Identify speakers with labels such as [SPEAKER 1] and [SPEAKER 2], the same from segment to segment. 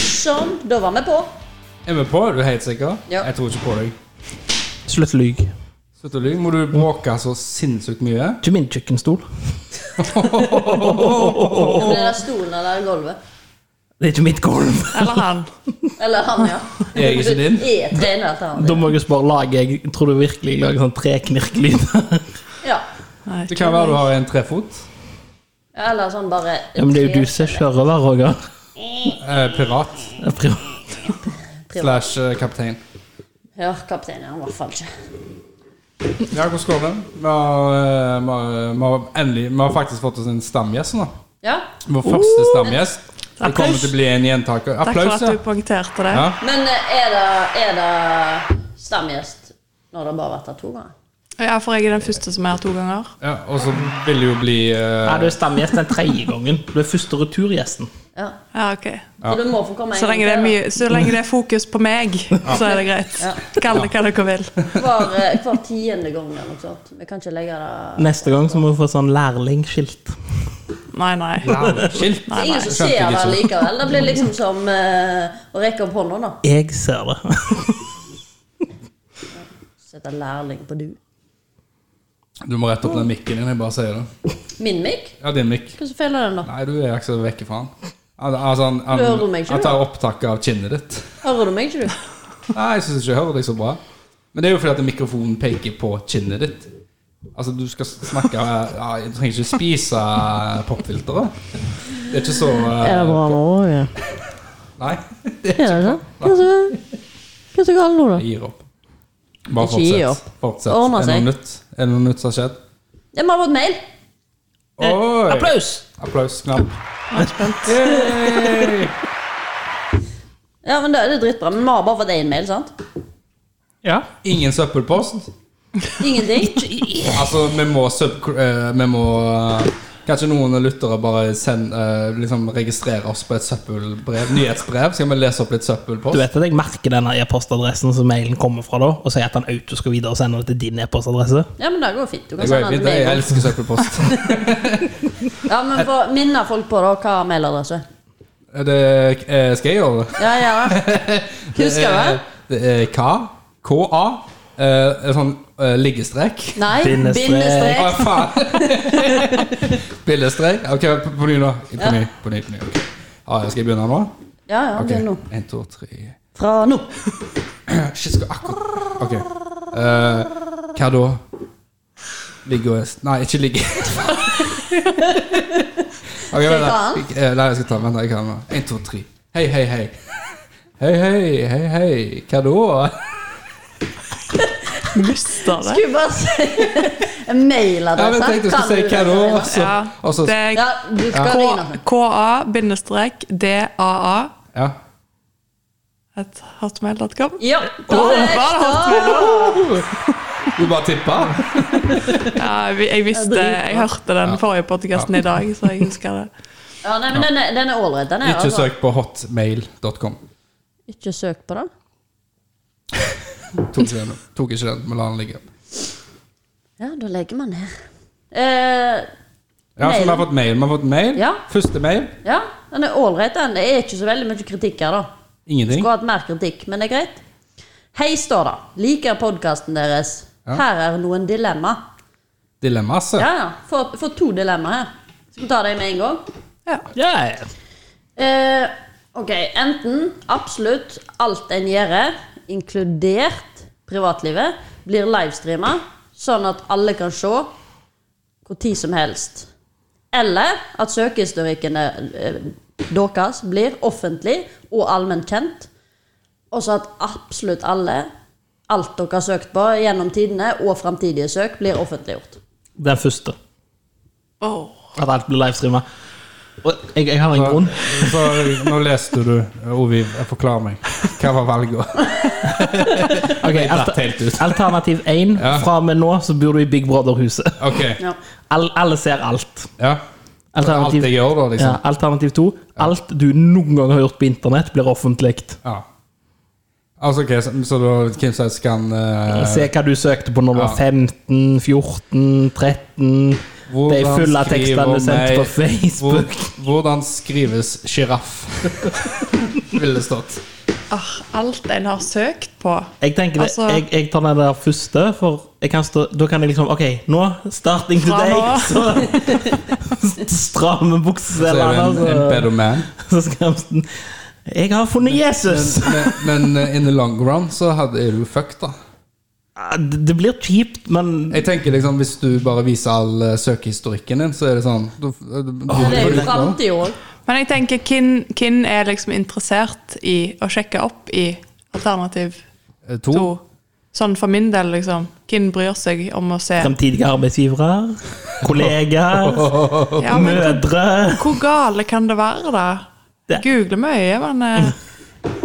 [SPEAKER 1] Sånn, da var vi på.
[SPEAKER 2] Er vi på? Er du helt sikker?
[SPEAKER 1] Ja.
[SPEAKER 2] Jeg tror ikke på deg.
[SPEAKER 3] Slutt å lyge.
[SPEAKER 2] Slutt å lyve. Må du bråke så sinnssykt mye?
[SPEAKER 3] Ikke min kjøkkenstol.
[SPEAKER 1] Det blir den der stolen eller det gulvet.
[SPEAKER 3] Det er ikke mitt gulv.
[SPEAKER 4] Eller han.
[SPEAKER 1] Eller han, ja.
[SPEAKER 2] Jeg er ikke din.
[SPEAKER 1] Jeg trener etter han.
[SPEAKER 3] Da må jeg jo bare lage Jeg tror du virkelig jeg lager sånn treknirkelyd.
[SPEAKER 1] Ja.
[SPEAKER 4] Nei,
[SPEAKER 2] Det kan være du har en trefot.
[SPEAKER 1] Eller sånn bare
[SPEAKER 3] Ja, men det er jo du som kjører over, Roger.
[SPEAKER 2] Eh, pirat
[SPEAKER 3] Det er privat.
[SPEAKER 2] slash eh, kaptein.
[SPEAKER 1] Ja, kaptein er han i hvert fall ikke.
[SPEAKER 2] Ja, hvordan går det? Vi har, eh, vi har, vi har, endelig, vi har faktisk fått oss en stamgjest nå.
[SPEAKER 1] Ja.
[SPEAKER 2] Vår første stamgjest. Det kommer
[SPEAKER 4] Oh. Applaus.
[SPEAKER 2] til å bli en gjentaker.
[SPEAKER 4] Takk for
[SPEAKER 2] Applaus,
[SPEAKER 4] at du
[SPEAKER 2] ja.
[SPEAKER 4] poengterte det.
[SPEAKER 2] ja.
[SPEAKER 1] Men eh, er det, er det stamgjest når det bare har vært der to ganger?
[SPEAKER 4] Ja, for jeg er den første som er her to ganger.
[SPEAKER 2] ja og så vil det jo bli eh,
[SPEAKER 3] Nei, du er stamgjest den tredje gangen. Du er første returgjesten.
[SPEAKER 1] Ja.
[SPEAKER 4] Ja, ok.
[SPEAKER 1] Så du må få komme en
[SPEAKER 4] Så lenge det er,
[SPEAKER 1] gang til,
[SPEAKER 4] mye, så lenge det er fokus på meg, så er det greit. Kall det hva dere vil.
[SPEAKER 1] da. Hver, eh, hver tiende gang eller noe sånt. Vi kan ikke legge det
[SPEAKER 3] Neste gang så må du få sånn lærlingskilt.
[SPEAKER 4] Nei, nei.
[SPEAKER 2] Skilt.
[SPEAKER 1] Det er ingen som
[SPEAKER 2] Skjønte
[SPEAKER 1] ser
[SPEAKER 2] jeg
[SPEAKER 1] det
[SPEAKER 2] ikke.
[SPEAKER 1] likevel. Det blir liksom som eh, å rekke opp hånda, da.
[SPEAKER 3] Jeg ser det.
[SPEAKER 1] Sette lærling på du.
[SPEAKER 2] Du må rette opp den mikken din. Jeg bare sier det.
[SPEAKER 1] Min mic?
[SPEAKER 2] Ja, din mikk.
[SPEAKER 1] Hvordan feiler den, da?
[SPEAKER 2] Nei, du er ikke så vekke fra han. Al- Altså, han,
[SPEAKER 1] Du hører meg
[SPEAKER 2] han,
[SPEAKER 1] ikke,
[SPEAKER 2] han
[SPEAKER 1] du?
[SPEAKER 2] tar opptaket av kinnet ditt.
[SPEAKER 1] Hører du meg ikke, du?
[SPEAKER 2] Nei, jeg syns ikke jeg hører deg så bra. Men det er jo fordi at mikrofonen peker på kinnet ditt. Altså, du skal snakke ja, Du trenger ikke spise popfilteret. Det er ikke så eh,
[SPEAKER 5] Er det bra nå? Ja.
[SPEAKER 2] Nei. Det
[SPEAKER 5] Er det ikke? Hva er så- hva er så galt nå, da?
[SPEAKER 2] jeg gir opp. Bare
[SPEAKER 5] Ikke gi
[SPEAKER 2] fortsett. fortsett.
[SPEAKER 1] Ordner
[SPEAKER 2] Er det
[SPEAKER 1] seg.
[SPEAKER 2] noe nytt? Er det noe nytt som har skjedd?
[SPEAKER 1] Ja, vi har fått mail. Eh,
[SPEAKER 2] Oi!
[SPEAKER 3] Applaus!
[SPEAKER 2] Applausknapp. Yay!
[SPEAKER 1] Ja, men det, det er dritbra. Men vi har bare fått én mail, sant?
[SPEAKER 3] Ja.
[SPEAKER 2] Ingen søppelpost.
[SPEAKER 1] Ingenting.
[SPEAKER 2] Altså, vi må sub... eh, vi må eh, Kanskje noen lyttere bare send, eh, liksom registrere oss på et søppelbrev, nyhetsbrev? Skal vi lese opp litt søppelpost?
[SPEAKER 3] Du vet at jeg merker denne e-postadressen som mailen kommer fra, da, og sier at han auto skal videre og sende det til din e-postadresse?
[SPEAKER 1] Ja, men det går fint. Du kan
[SPEAKER 2] Det går
[SPEAKER 1] sende den
[SPEAKER 2] helt fint. Jeg
[SPEAKER 1] mail.
[SPEAKER 2] elsker søppelpost.
[SPEAKER 1] Ja, men få minne folk på da hva mailadresse er.
[SPEAKER 2] Det, eh, skal jeg gjøre det?
[SPEAKER 1] Ja, ja. Husker du det?
[SPEAKER 2] Det er K. K-A. Eh, en sånn eh, liggestrek.
[SPEAKER 1] Nei,
[SPEAKER 3] Bindestrek.
[SPEAKER 2] Å,
[SPEAKER 1] bindestrek.
[SPEAKER 2] faen! Bildestrek. Ok, på, på ny nå. På
[SPEAKER 1] Ja.
[SPEAKER 2] ny, på ny. På ny. ok. Ah, skal jeg begynne nå?
[SPEAKER 1] Ja, ja,
[SPEAKER 2] Ok.
[SPEAKER 1] begynn nå.
[SPEAKER 2] En, to, tre.
[SPEAKER 1] Fra nå.
[SPEAKER 2] Shit, skal akkurat Ok. Eh, hva da? Ligge og Nei, ikke ligge. okay, vent,
[SPEAKER 1] ta
[SPEAKER 2] da. Eh, Nei, jeg skal ta Vent, da, jeg kan den. En, to, tre. Hei, hei, hei. Hei, hei, hei, hei. Hva da?
[SPEAKER 4] Mister det.
[SPEAKER 1] Skulle bare si en
[SPEAKER 2] Ja, men
[SPEAKER 1] mailadresse.
[SPEAKER 2] jeg tenkte jeg
[SPEAKER 1] Kan
[SPEAKER 2] skulle si hva da, og så,
[SPEAKER 4] Ja,
[SPEAKER 2] og så
[SPEAKER 4] det er
[SPEAKER 1] Ja, du skal
[SPEAKER 4] K-
[SPEAKER 1] ringe den.
[SPEAKER 4] KA-DAA
[SPEAKER 2] Ja.
[SPEAKER 4] at hotmail.com.
[SPEAKER 1] Ja,
[SPEAKER 4] det var
[SPEAKER 1] korrekt.
[SPEAKER 2] Du bare tippa?
[SPEAKER 4] Ja, vi- jeg visste Jeg hørte den forrige podkasten i dag, så jeg husker det.
[SPEAKER 1] Ja, nei, men den er- den er ålreit, den er
[SPEAKER 2] Ikke
[SPEAKER 1] altså.
[SPEAKER 2] søk på hotmail.com.
[SPEAKER 1] Ikke søk på det.
[SPEAKER 2] Tok ikke den, tok ikke den men la den ligge.
[SPEAKER 1] Ja, da legger man her. Eh,
[SPEAKER 2] Ja, så vi har fått mail. Vi har fått mail.
[SPEAKER 1] Ja.
[SPEAKER 2] Første mail.
[SPEAKER 1] ja, den er ålreit, den. Det er ikke så veldig mye kritikk her, da.
[SPEAKER 2] Ingenting.
[SPEAKER 1] Skulle hatt mer kritikk, men det er greit. Hei, står det. Liker podkasten deres.
[SPEAKER 2] Ja.
[SPEAKER 1] Her er noen dilemma.
[SPEAKER 2] Dilemma, altså.
[SPEAKER 1] Ja, ja. Får får to dilemma her. Skal vi ta dem med en gang?
[SPEAKER 4] Ja.
[SPEAKER 3] Yeah.
[SPEAKER 1] Eh, ok, enten absolutt alt en gjør, inkludert privatlivet, blir livestreama, sånn at alle kan se hvor tid som helst. Eller at søkehistorikken eh, deres blir offentlig og allment kjent. Og så at absolutt alle, alt dere har søkt på gjennom tidene og framtidige søk, blir offentliggjort.
[SPEAKER 3] Den første.
[SPEAKER 4] Åh.
[SPEAKER 3] At alt blir livestreama. Og Jeg, jeg har en grunn.
[SPEAKER 2] Så nå leste du, Oviv, jeg forklarer meg. Hva var valget?
[SPEAKER 3] Ok,
[SPEAKER 2] datt
[SPEAKER 3] alter-
[SPEAKER 2] helt ut.
[SPEAKER 3] Alternativ 1.
[SPEAKER 2] Ja.
[SPEAKER 3] Fra og med nå så bor du i Big Brother-huset.
[SPEAKER 2] Ok,
[SPEAKER 1] Ja.
[SPEAKER 3] All, alle ser alt.
[SPEAKER 2] ja. Alt jeg
[SPEAKER 3] Alternativ,
[SPEAKER 2] gjør da,
[SPEAKER 3] ja,
[SPEAKER 2] liksom.
[SPEAKER 3] alternativ 2. Alt du noen gang har gjort på internett, blir offentlig.
[SPEAKER 2] Ja. Altså, ok, så, så da, hvem som helst kan eh,
[SPEAKER 3] Se hva du søkte på når du var
[SPEAKER 2] ja.
[SPEAKER 3] 15, 14, 13 Det er full av tekstene du sendte på Facebook.
[SPEAKER 2] Hvordan skrives sjiraff? Ville det stått.
[SPEAKER 4] Ah, alt en har søkt på.
[SPEAKER 3] Jeg tenker det,
[SPEAKER 4] Altså-
[SPEAKER 3] jeg, jeg tar den der første, for jeg kan stå, da kan jeg liksom OK, nå starting
[SPEAKER 4] Fra
[SPEAKER 3] today!
[SPEAKER 4] nå.
[SPEAKER 3] Så stramme
[SPEAKER 2] Så er det
[SPEAKER 3] bukseselene,
[SPEAKER 2] en, en
[SPEAKER 3] altså.
[SPEAKER 2] better man.
[SPEAKER 3] Så skal han sånn, Jeg har funnet Jesus!
[SPEAKER 2] Men, men eh, in the long run så hadde, er du fucked, da.
[SPEAKER 3] Ah, Det det blir kjipt, men
[SPEAKER 2] Jeg tenker liksom Hvis du bare viser all eh, søkehistorikken din, så er det sånn du, du, du,
[SPEAKER 1] Men det er jo
[SPEAKER 2] du-
[SPEAKER 1] framtida òg.
[SPEAKER 4] Men jeg tenker, hvem, hvem er liksom interessert i å sjekke opp i alternativ
[SPEAKER 2] Eh, To.
[SPEAKER 4] to? Sånn for min del, liksom. Hvem bryr seg om å se
[SPEAKER 3] fremtidige arbeidsgivere, kollegaer,
[SPEAKER 4] ja, men hvor,
[SPEAKER 3] mødre
[SPEAKER 4] hvor gale kan det være, da?
[SPEAKER 3] Det- Mm.
[SPEAKER 4] Google mye, men eh,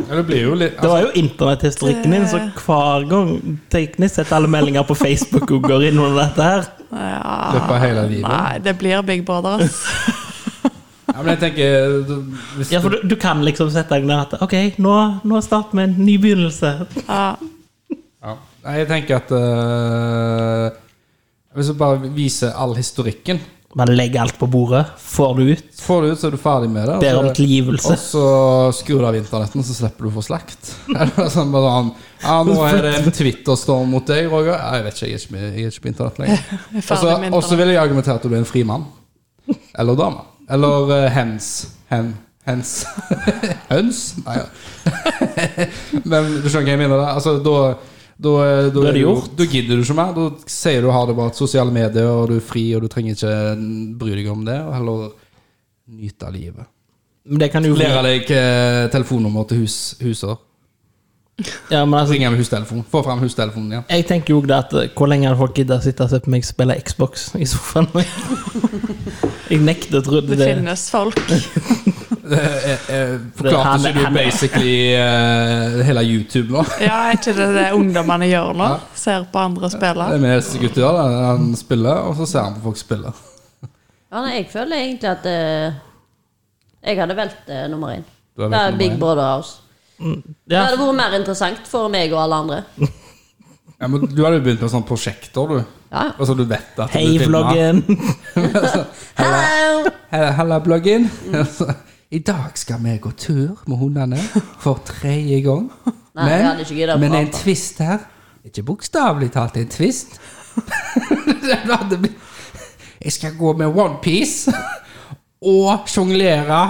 [SPEAKER 2] Ja, det blir jo litt
[SPEAKER 3] Det
[SPEAKER 2] altså,
[SPEAKER 3] var jo internetthistorikken din, så hver gang teknisk sett alle meldinger på Facebook og går inn under dette her.
[SPEAKER 4] ja,
[SPEAKER 2] altså, Løpet av hele livet.
[SPEAKER 4] Nei, det blir Big Brother, ass.
[SPEAKER 2] ja, Men jeg tenker eh, du- hvis
[SPEAKER 3] Ja, for du, du kan liksom sette deg ned at OK, nå, nå starter vi en ny begynnelse.
[SPEAKER 4] Ja.
[SPEAKER 2] Ja. Nei, jeg tenker at eh, Hvis du bare viser all historikken,
[SPEAKER 3] Man legger alt på bordet, får det ut,
[SPEAKER 2] så får du ut, så er du ferdig med det. og
[SPEAKER 3] ber om
[SPEAKER 2] så-
[SPEAKER 3] tilgivelse.
[SPEAKER 2] og så skrur du av internetten, så slipper du å få slakt. Eller sånn bare sånn Ja, nå er det en Twitter-storm mot deg, Roger. Ja, Jeg vet ikke, jeg er ikke, med, jeg er ikke på internett lenger.
[SPEAKER 4] Jeg er
[SPEAKER 2] Og
[SPEAKER 4] ferdig med
[SPEAKER 2] så- Og så
[SPEAKER 4] internett.
[SPEAKER 2] vil jeg argumentere at du er en fri mann. Eller dame. Eller eh, hens. Hen. Hens. Høns? Nei, ja. Men du skjønner hva jeg mener? Da altså, da, da, eh, da,
[SPEAKER 3] Da er det
[SPEAKER 2] du-
[SPEAKER 3] gjort.
[SPEAKER 2] Da gidder du ikke mer. Da sier du ha det bra til sosiale medier, og du er fri, og du trenger ikke bry deg om det. Og heller nyte av livet.
[SPEAKER 3] Men det kan jo
[SPEAKER 2] Lære deg eh, telefonnummer til hus, husår.
[SPEAKER 3] Ja, men altså,
[SPEAKER 2] Ringe med hustelefon. Få fram hustelefonen igjen.
[SPEAKER 3] jeg tenker jo det at eh, hvor lenge hadde folk giddet å sitte og se på meg spille Xbox i sofaen? Jeg nekter å tro
[SPEAKER 4] Det
[SPEAKER 3] det.
[SPEAKER 4] finnes folk.
[SPEAKER 2] Eh, eh,
[SPEAKER 3] Han-
[SPEAKER 2] Forklarte ikke du
[SPEAKER 3] han-
[SPEAKER 2] basically eh, hele YouTube nå?
[SPEAKER 4] Ja, er ikke det det ungdommene gjør nå? Ser på andre spille.
[SPEAKER 2] Det er min eldste gutt gjør det. Han spiller, og så ser han på folk spille.
[SPEAKER 1] Ja, nei, jeg føler egentlig at eh, jeg hadde valgt eh, nummer én.
[SPEAKER 2] Du
[SPEAKER 1] Det
[SPEAKER 2] hadde valgt
[SPEAKER 1] er
[SPEAKER 2] nummer
[SPEAKER 1] Big
[SPEAKER 2] én.
[SPEAKER 1] Brother House. Det
[SPEAKER 3] Ja,
[SPEAKER 1] hadde vært mer interessant for meg og alle andre.
[SPEAKER 2] Ja, men du hadde jo begynt med sånne prosjekter, du.
[SPEAKER 1] Ja, ja.
[SPEAKER 2] Altså, du vet at
[SPEAKER 3] Hei,
[SPEAKER 2] du
[SPEAKER 3] vloggen!
[SPEAKER 1] Hello!
[SPEAKER 2] Hei, Halla, bloggen. Altså, I dag skal vi gå tur med hundene for tredje gang.
[SPEAKER 1] Nei, jeg hadde ikke giddet å
[SPEAKER 2] men det er en
[SPEAKER 1] prate.
[SPEAKER 2] twist her. Ikke bokstavelig talt en twist. Det hadde blitt- jeg skal gå med onepiece og sjonglere.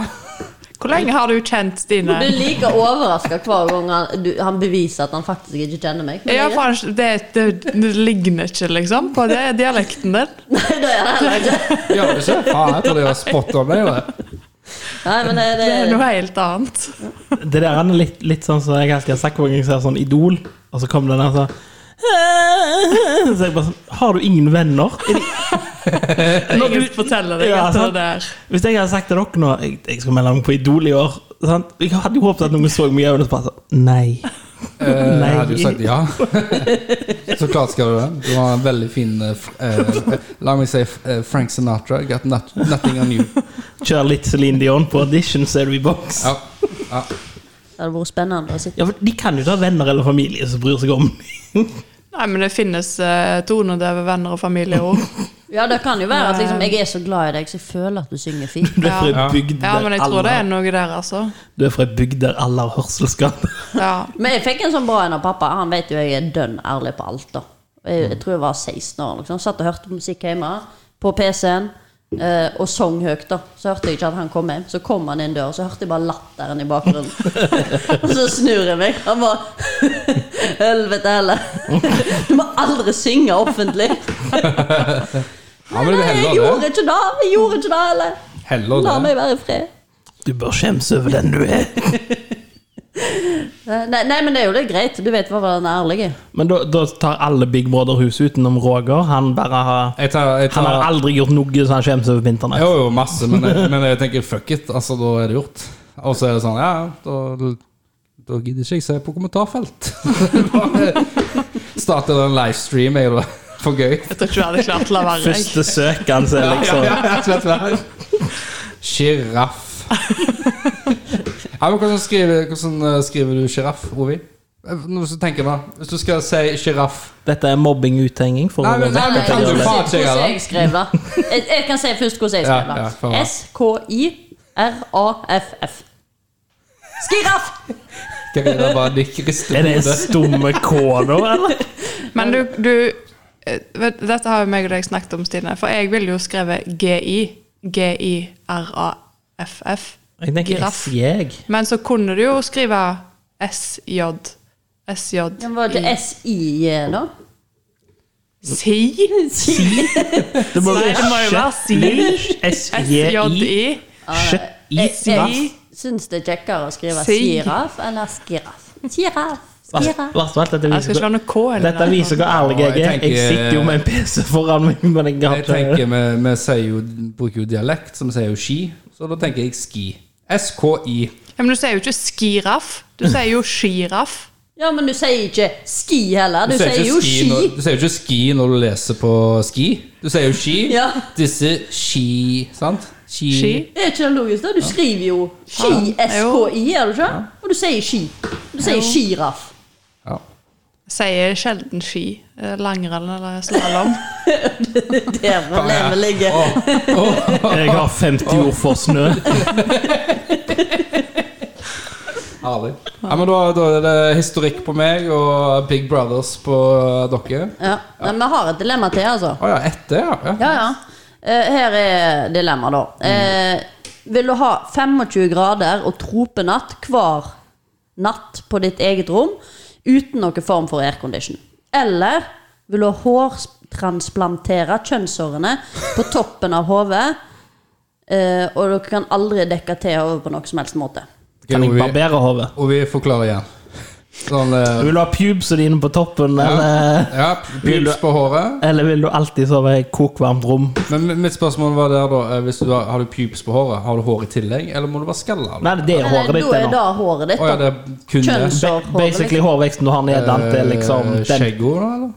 [SPEAKER 4] Hvor lenge har du kjent Stine?
[SPEAKER 1] Du er like overraska hver gang han, du, han beviser at han faktisk ikke kjenner meg. Men
[SPEAKER 4] Ja,
[SPEAKER 1] jeg-
[SPEAKER 4] faen, det, det, det ligner ikke, liksom, på det, dialekten din.
[SPEAKER 1] Nei, det er det heller ikke.
[SPEAKER 2] Gjør det ikke? Faen, jeg tror det var spot on. det, jo.
[SPEAKER 1] Nei, men det, det,
[SPEAKER 4] Det er noe helt annet.
[SPEAKER 3] Det der er litt, litt sånn som jeg alltid har sagt hver gang jeg ser sånn Idol, og så kommer den der sånn Så jeg bare sånn Har du ingen venner? Er det- Når
[SPEAKER 4] Ingen
[SPEAKER 3] du-
[SPEAKER 4] forteller deg
[SPEAKER 3] Ja,
[SPEAKER 4] at det
[SPEAKER 3] sant.
[SPEAKER 4] der.
[SPEAKER 3] Hvis jeg hadde sagt til dere nå Jeg, jeg skal melde meg på Idol i år sant? Jeg hadde jo håpet at noen så meg i øynene og bare sånn Nei.
[SPEAKER 2] Eh,
[SPEAKER 3] Nei.
[SPEAKER 2] Jeg hadde jo sagt ja. Så klart skal du det. Du har en veldig fin eh, fr- eh, La meg si eh, Frank Sinatra. Got not, nothing on you.
[SPEAKER 3] Kjør litt Celine Dion på audition, så er du i boks. Ja.
[SPEAKER 2] Ja. ja.
[SPEAKER 1] det hadde vært spennende å sitte
[SPEAKER 3] for de kan jo ta venner eller familie som bryr seg om
[SPEAKER 4] Nei, men det finnes eh, tonedøve venner og familie òg.
[SPEAKER 1] Ja, det kan jo være at liksom, jeg er så glad i deg, så jeg føler at du synger fint.
[SPEAKER 3] Du er fra ei
[SPEAKER 2] Ja.
[SPEAKER 3] bygd
[SPEAKER 4] Ja, men
[SPEAKER 3] der
[SPEAKER 4] jeg tror det
[SPEAKER 3] alle
[SPEAKER 4] er noe der, altså.
[SPEAKER 3] Du er fra ei bygd der alle har hørselsskade.
[SPEAKER 4] Ja.
[SPEAKER 1] Men jeg fikk en sånn bra en av pappa. Han vet jo jeg er dønn ærlig på alt, da. Jeg,
[SPEAKER 2] Mm.
[SPEAKER 1] jeg tror jeg var 16 år. Liksom. Satt og hørte musikk hjemme på PC-en. eh, og sang høyt, da. Så hørte jeg ikke at han kom hjem. Så kom han inn døra, så hørte jeg bare latteren i bakgrunnen. og så snur jeg meg. Han bare Helvete heller. du må aldri synge offentlig.
[SPEAKER 2] ja men
[SPEAKER 1] Nei, jeg
[SPEAKER 2] det er heller det.
[SPEAKER 1] gjorde ikke det. Jeg gjorde ikke det heller. La
[SPEAKER 2] Heller det.
[SPEAKER 1] meg være i fred.
[SPEAKER 3] Du bør skjemmes over den du er.
[SPEAKER 1] Eh, Nei, nei, men det er jo litt greit. Du vet hva den ærlige
[SPEAKER 3] Men da, da tar alle Big Brother-huset utenom Roger. Han bare har
[SPEAKER 2] Jeg tar, jeg
[SPEAKER 3] Han har
[SPEAKER 2] tar
[SPEAKER 3] aldri gjort noe som han skjemmes over på internett.
[SPEAKER 2] Jo, jo, masse, men jeg, men jeg tenker fuck it. Altså, da er det gjort. Og så er det sånn, ja, da, da gidder ikke jeg se på kommentarfelt. Bare Starter en livestream, er jo for gøy.
[SPEAKER 4] Jeg tror ikke du hadde klart å la være. jeg.
[SPEAKER 3] Første søkeren så er det liksom
[SPEAKER 2] Sjiraff. Ja, men hvordan skriver, hvordan eh, skriver du sjiraff, Ovi? Nå så tenker jeg da Hvis du skal si sjiraff
[SPEAKER 3] Dette er mobbing-uthenging. for
[SPEAKER 2] Nei,
[SPEAKER 3] å
[SPEAKER 2] men- nei, men
[SPEAKER 3] vekke
[SPEAKER 2] kan
[SPEAKER 1] jeg
[SPEAKER 2] du
[SPEAKER 1] kan si
[SPEAKER 2] faen
[SPEAKER 3] alle.
[SPEAKER 2] ikke
[SPEAKER 1] hvordan
[SPEAKER 2] gjøre
[SPEAKER 1] jeg skrev det. Jeg, jeg kan si først hvordan jeg
[SPEAKER 2] Ja,
[SPEAKER 1] skrev
[SPEAKER 2] ja,
[SPEAKER 1] det.
[SPEAKER 2] faen meg.
[SPEAKER 1] S-K-I-R-A-F-F. Skiraff!
[SPEAKER 2] Karina bare de rister
[SPEAKER 3] Er det
[SPEAKER 2] hodet.
[SPEAKER 3] stumme K nå, eller?
[SPEAKER 4] Men du, du eh, vet, Dette har jo meg og deg snakket om, Stine. For jeg ville jo skrevet GI. G-i-r-a-f-f.
[SPEAKER 3] Jeg tenker
[SPEAKER 4] Giraff.
[SPEAKER 3] SJ.
[SPEAKER 4] Men så kunne du jo skrive SJ. SJ.
[SPEAKER 1] Den var eh, til S-I-J, da.
[SPEAKER 4] Si?
[SPEAKER 3] Det må
[SPEAKER 4] Nei, det må jo være
[SPEAKER 3] SJ.
[SPEAKER 4] SJI.
[SPEAKER 1] Jeg, jeg
[SPEAKER 4] Giraff.
[SPEAKER 1] syns det er kjekkere å skrive
[SPEAKER 4] Si.
[SPEAKER 1] sjiraff enn skiraff. Sjiraff. Skiraff.
[SPEAKER 3] dette
[SPEAKER 4] Jeg skal ikke
[SPEAKER 3] viser,
[SPEAKER 4] la noe K inn. i
[SPEAKER 3] dette
[SPEAKER 4] det.
[SPEAKER 3] viser hvor ærlig jeg er. Jeg sitter jo med en PC foran meg. Men jeg har
[SPEAKER 2] Jeg tenker vi, vi sier jo, bruker jo dialekt, så vi sier jo ski. Så da tenker jeg ski. S-K-I.
[SPEAKER 4] Ja, men du sier jo ikke skiraff. Du sier jo skiraff.
[SPEAKER 1] Ja, men du sier ikke ski heller. Du, sier
[SPEAKER 2] ikke
[SPEAKER 1] jo
[SPEAKER 2] ski
[SPEAKER 1] ski.
[SPEAKER 2] Når, du sier jo ikke ski når du leser på ski. Du sier jo ski.
[SPEAKER 1] Ja.
[SPEAKER 2] Disse ski, sant? Ski.
[SPEAKER 4] Ski.
[SPEAKER 1] Det er ikke det logisk, da. Du skriver jo ski,
[SPEAKER 4] Ja.
[SPEAKER 1] S-K-I, er du ikke? Og du sier ski. Du sier sjiraff.
[SPEAKER 2] Ja.
[SPEAKER 4] Sier sjelden ski. eh, Langrenn eller slalåm.
[SPEAKER 1] Der problemet ligger.
[SPEAKER 3] Jeg har 50 ord for snø.
[SPEAKER 2] Herlig. Ja, men da, da er det historikk på meg og Big Brothers på dere.
[SPEAKER 1] Ja. Men vi har et dilemma til, altså.
[SPEAKER 2] Å ja, etter, ja. ja.
[SPEAKER 1] Ja, ja. Eh, her er dilemmaet, da.
[SPEAKER 3] Mm.
[SPEAKER 1] Eh, vil du ha 25 grader og tropenatt hver natt på ditt eget rom uten noen form for aircondition? Eller vil du hårtransplantere kjønnshårene på toppen av hodet, eh, og dere kan aldri dekke til over på noen som helst måte?
[SPEAKER 3] Kan jeg
[SPEAKER 2] Ovi,
[SPEAKER 3] barbere hodet?
[SPEAKER 2] Ovi forklarer igjen. Sånn eh,
[SPEAKER 3] Vil du ha pubes dine på toppen,
[SPEAKER 1] eh,
[SPEAKER 3] eller,
[SPEAKER 2] Ja, pubes på håret.
[SPEAKER 3] eller vil du alltid sove i et kokvarmt rom?
[SPEAKER 2] Men mi- mitt spørsmål var der, da. eh, Hvis du har, har du pubes på håret, har du hår i tillegg, eller må du være skalla?
[SPEAKER 3] Nei, det er
[SPEAKER 1] Eller,
[SPEAKER 3] håret ditt.
[SPEAKER 1] da er
[SPEAKER 3] det nå.
[SPEAKER 1] det håret ditt.
[SPEAKER 2] Å ja,
[SPEAKER 1] da.
[SPEAKER 2] det er kun det.
[SPEAKER 1] Kjønns-
[SPEAKER 3] Ba- Basically hårveksten du har nedan til liksom
[SPEAKER 2] Eh,
[SPEAKER 3] den
[SPEAKER 2] Skjeggord, da, eller?
[SPEAKER 1] liksom.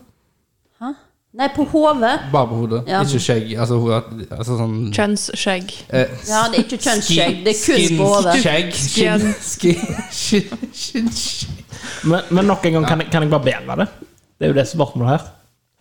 [SPEAKER 1] Nei, på hodet.
[SPEAKER 2] Bare på hodet.
[SPEAKER 1] Ja.
[SPEAKER 2] Ikke skjegg. Altså, hodet, altså sånn
[SPEAKER 4] Kjønnsskjegg.
[SPEAKER 2] eh,
[SPEAKER 1] Ja, det er ikke kjønnsskjegg, det er kun
[SPEAKER 2] skin-
[SPEAKER 1] på hodet.
[SPEAKER 2] Skjegg.
[SPEAKER 4] Skin.
[SPEAKER 2] Skinn.
[SPEAKER 3] Men, men nok en gang, kan jeg, kan jeg barbere det? Det er jo det som er spørsmålet her.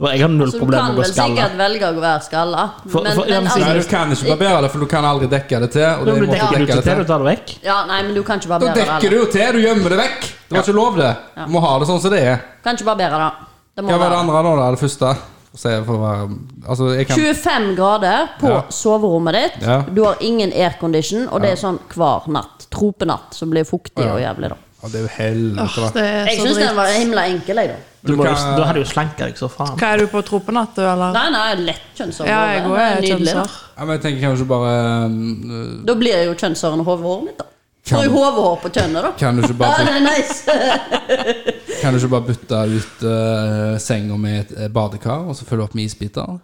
[SPEAKER 3] For jeg har null
[SPEAKER 1] Så du
[SPEAKER 3] problemer
[SPEAKER 1] kan
[SPEAKER 3] med å
[SPEAKER 1] vel
[SPEAKER 3] skalle.
[SPEAKER 1] sikkert velge å være skalla.
[SPEAKER 3] For-
[SPEAKER 1] Men,
[SPEAKER 3] for- ja,
[SPEAKER 1] men
[SPEAKER 2] Nei,
[SPEAKER 3] men
[SPEAKER 1] altså,
[SPEAKER 2] du kan ikke barbere det, for du kan aldri dekke det til. Og
[SPEAKER 3] Da
[SPEAKER 2] det
[SPEAKER 3] blir
[SPEAKER 2] må
[SPEAKER 3] det
[SPEAKER 2] du
[SPEAKER 3] dekker du
[SPEAKER 2] dekke
[SPEAKER 3] ikke
[SPEAKER 2] det
[SPEAKER 3] til, du
[SPEAKER 2] til.
[SPEAKER 3] tar det vekk.
[SPEAKER 1] Ja, nei, men du kan ikke
[SPEAKER 2] Da
[SPEAKER 1] barbere det.
[SPEAKER 2] dekker du
[SPEAKER 1] heller.
[SPEAKER 2] jo til! Du gjemmer det vekk! Det var ikke lov, det. Du må ha det sånn som det er.
[SPEAKER 1] Kan ikke barbere det. Det må
[SPEAKER 2] Hva var det
[SPEAKER 1] være
[SPEAKER 2] andre, da? da? Det første? For å si- for å være Altså, jeg kan
[SPEAKER 1] 25 grader på
[SPEAKER 2] Ja.
[SPEAKER 1] soverommet ditt.
[SPEAKER 2] Ja.
[SPEAKER 1] Du har ingen aircondition, og det er sånn hver natt. Tropenatt, som blir fuktig
[SPEAKER 2] Ja.
[SPEAKER 1] og jævlig, da.
[SPEAKER 2] Å, Det er jo helvete, da.
[SPEAKER 4] Det er
[SPEAKER 1] Jeg
[SPEAKER 4] så
[SPEAKER 1] syns den var
[SPEAKER 4] dritt.
[SPEAKER 1] himla enkel, jeg, da.
[SPEAKER 3] Du
[SPEAKER 2] Du
[SPEAKER 3] må jo,
[SPEAKER 2] kan-
[SPEAKER 3] da hadde du jo slanka deg så faen.
[SPEAKER 4] Hva er du på tropenatt, du, eller?
[SPEAKER 1] Nei, nei, lett kjønnshår.
[SPEAKER 4] Ja, jeg òg er
[SPEAKER 1] Det er nydelig, da.
[SPEAKER 4] kjønnshår.
[SPEAKER 2] Ja, men jeg tenker kanskje bare eh,
[SPEAKER 1] Da blir jo kjønnshårene hodehåret mitt, da. Får
[SPEAKER 2] Kan-
[SPEAKER 1] jeg hodehår på kjønnet, da?
[SPEAKER 2] Kan du ikke
[SPEAKER 1] Ja,
[SPEAKER 2] bare
[SPEAKER 1] det er nice.
[SPEAKER 2] Kan du ikke bare bytte ut eh, senga med et eh, badekar, og så fylle opp med isbiter?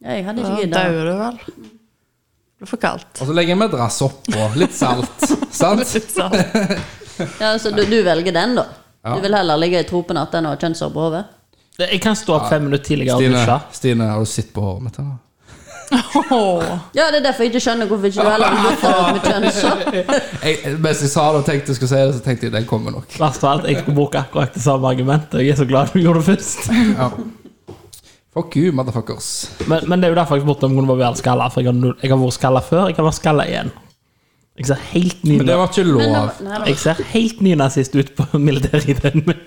[SPEAKER 1] Ja, jeg hadde
[SPEAKER 4] Da
[SPEAKER 1] ikke giddet.
[SPEAKER 4] dauer du vel. Det er for kaldt.
[SPEAKER 2] Og så legger jeg en madrass oppå. Litt salt. sant?
[SPEAKER 4] Så.
[SPEAKER 1] Ja, så du, du velger den, da?
[SPEAKER 2] Ja.
[SPEAKER 1] Du vil heller ligge i tropenatt enn å ha kjønnshår på hodet?
[SPEAKER 3] Jeg kan stå opp fem minutter tidligere og
[SPEAKER 2] Stine,
[SPEAKER 3] dusje.
[SPEAKER 2] Stine, har du sett på håret mitt? eller?
[SPEAKER 4] Åh.
[SPEAKER 1] Ja, det er derfor jeg ikke skjønner hvorfor ikke du heller vil bytte deg ut med kjønnshår.
[SPEAKER 2] Jeg, mens jeg sa det og tenkte jeg skulle si det, så tenkte jeg den kommer nok.
[SPEAKER 3] Verst av alt, jeg skulle bruke akkurat det samme argumentet. og Jeg er så glad du gjorde det først.
[SPEAKER 2] Ja. Fuck you, motherfuckers.
[SPEAKER 3] Men, men det er jo derfor jeg spurte om jeg kunne barbere skalla. For jeg har, null, jeg har vært skalla før, jeg kan være skalla igjen. Jeg ser helt ny,
[SPEAKER 2] Men det var ikke
[SPEAKER 1] Men da,
[SPEAKER 2] lov.
[SPEAKER 1] nei, da.
[SPEAKER 3] jeg ser helt nynazist ut på militærideen min.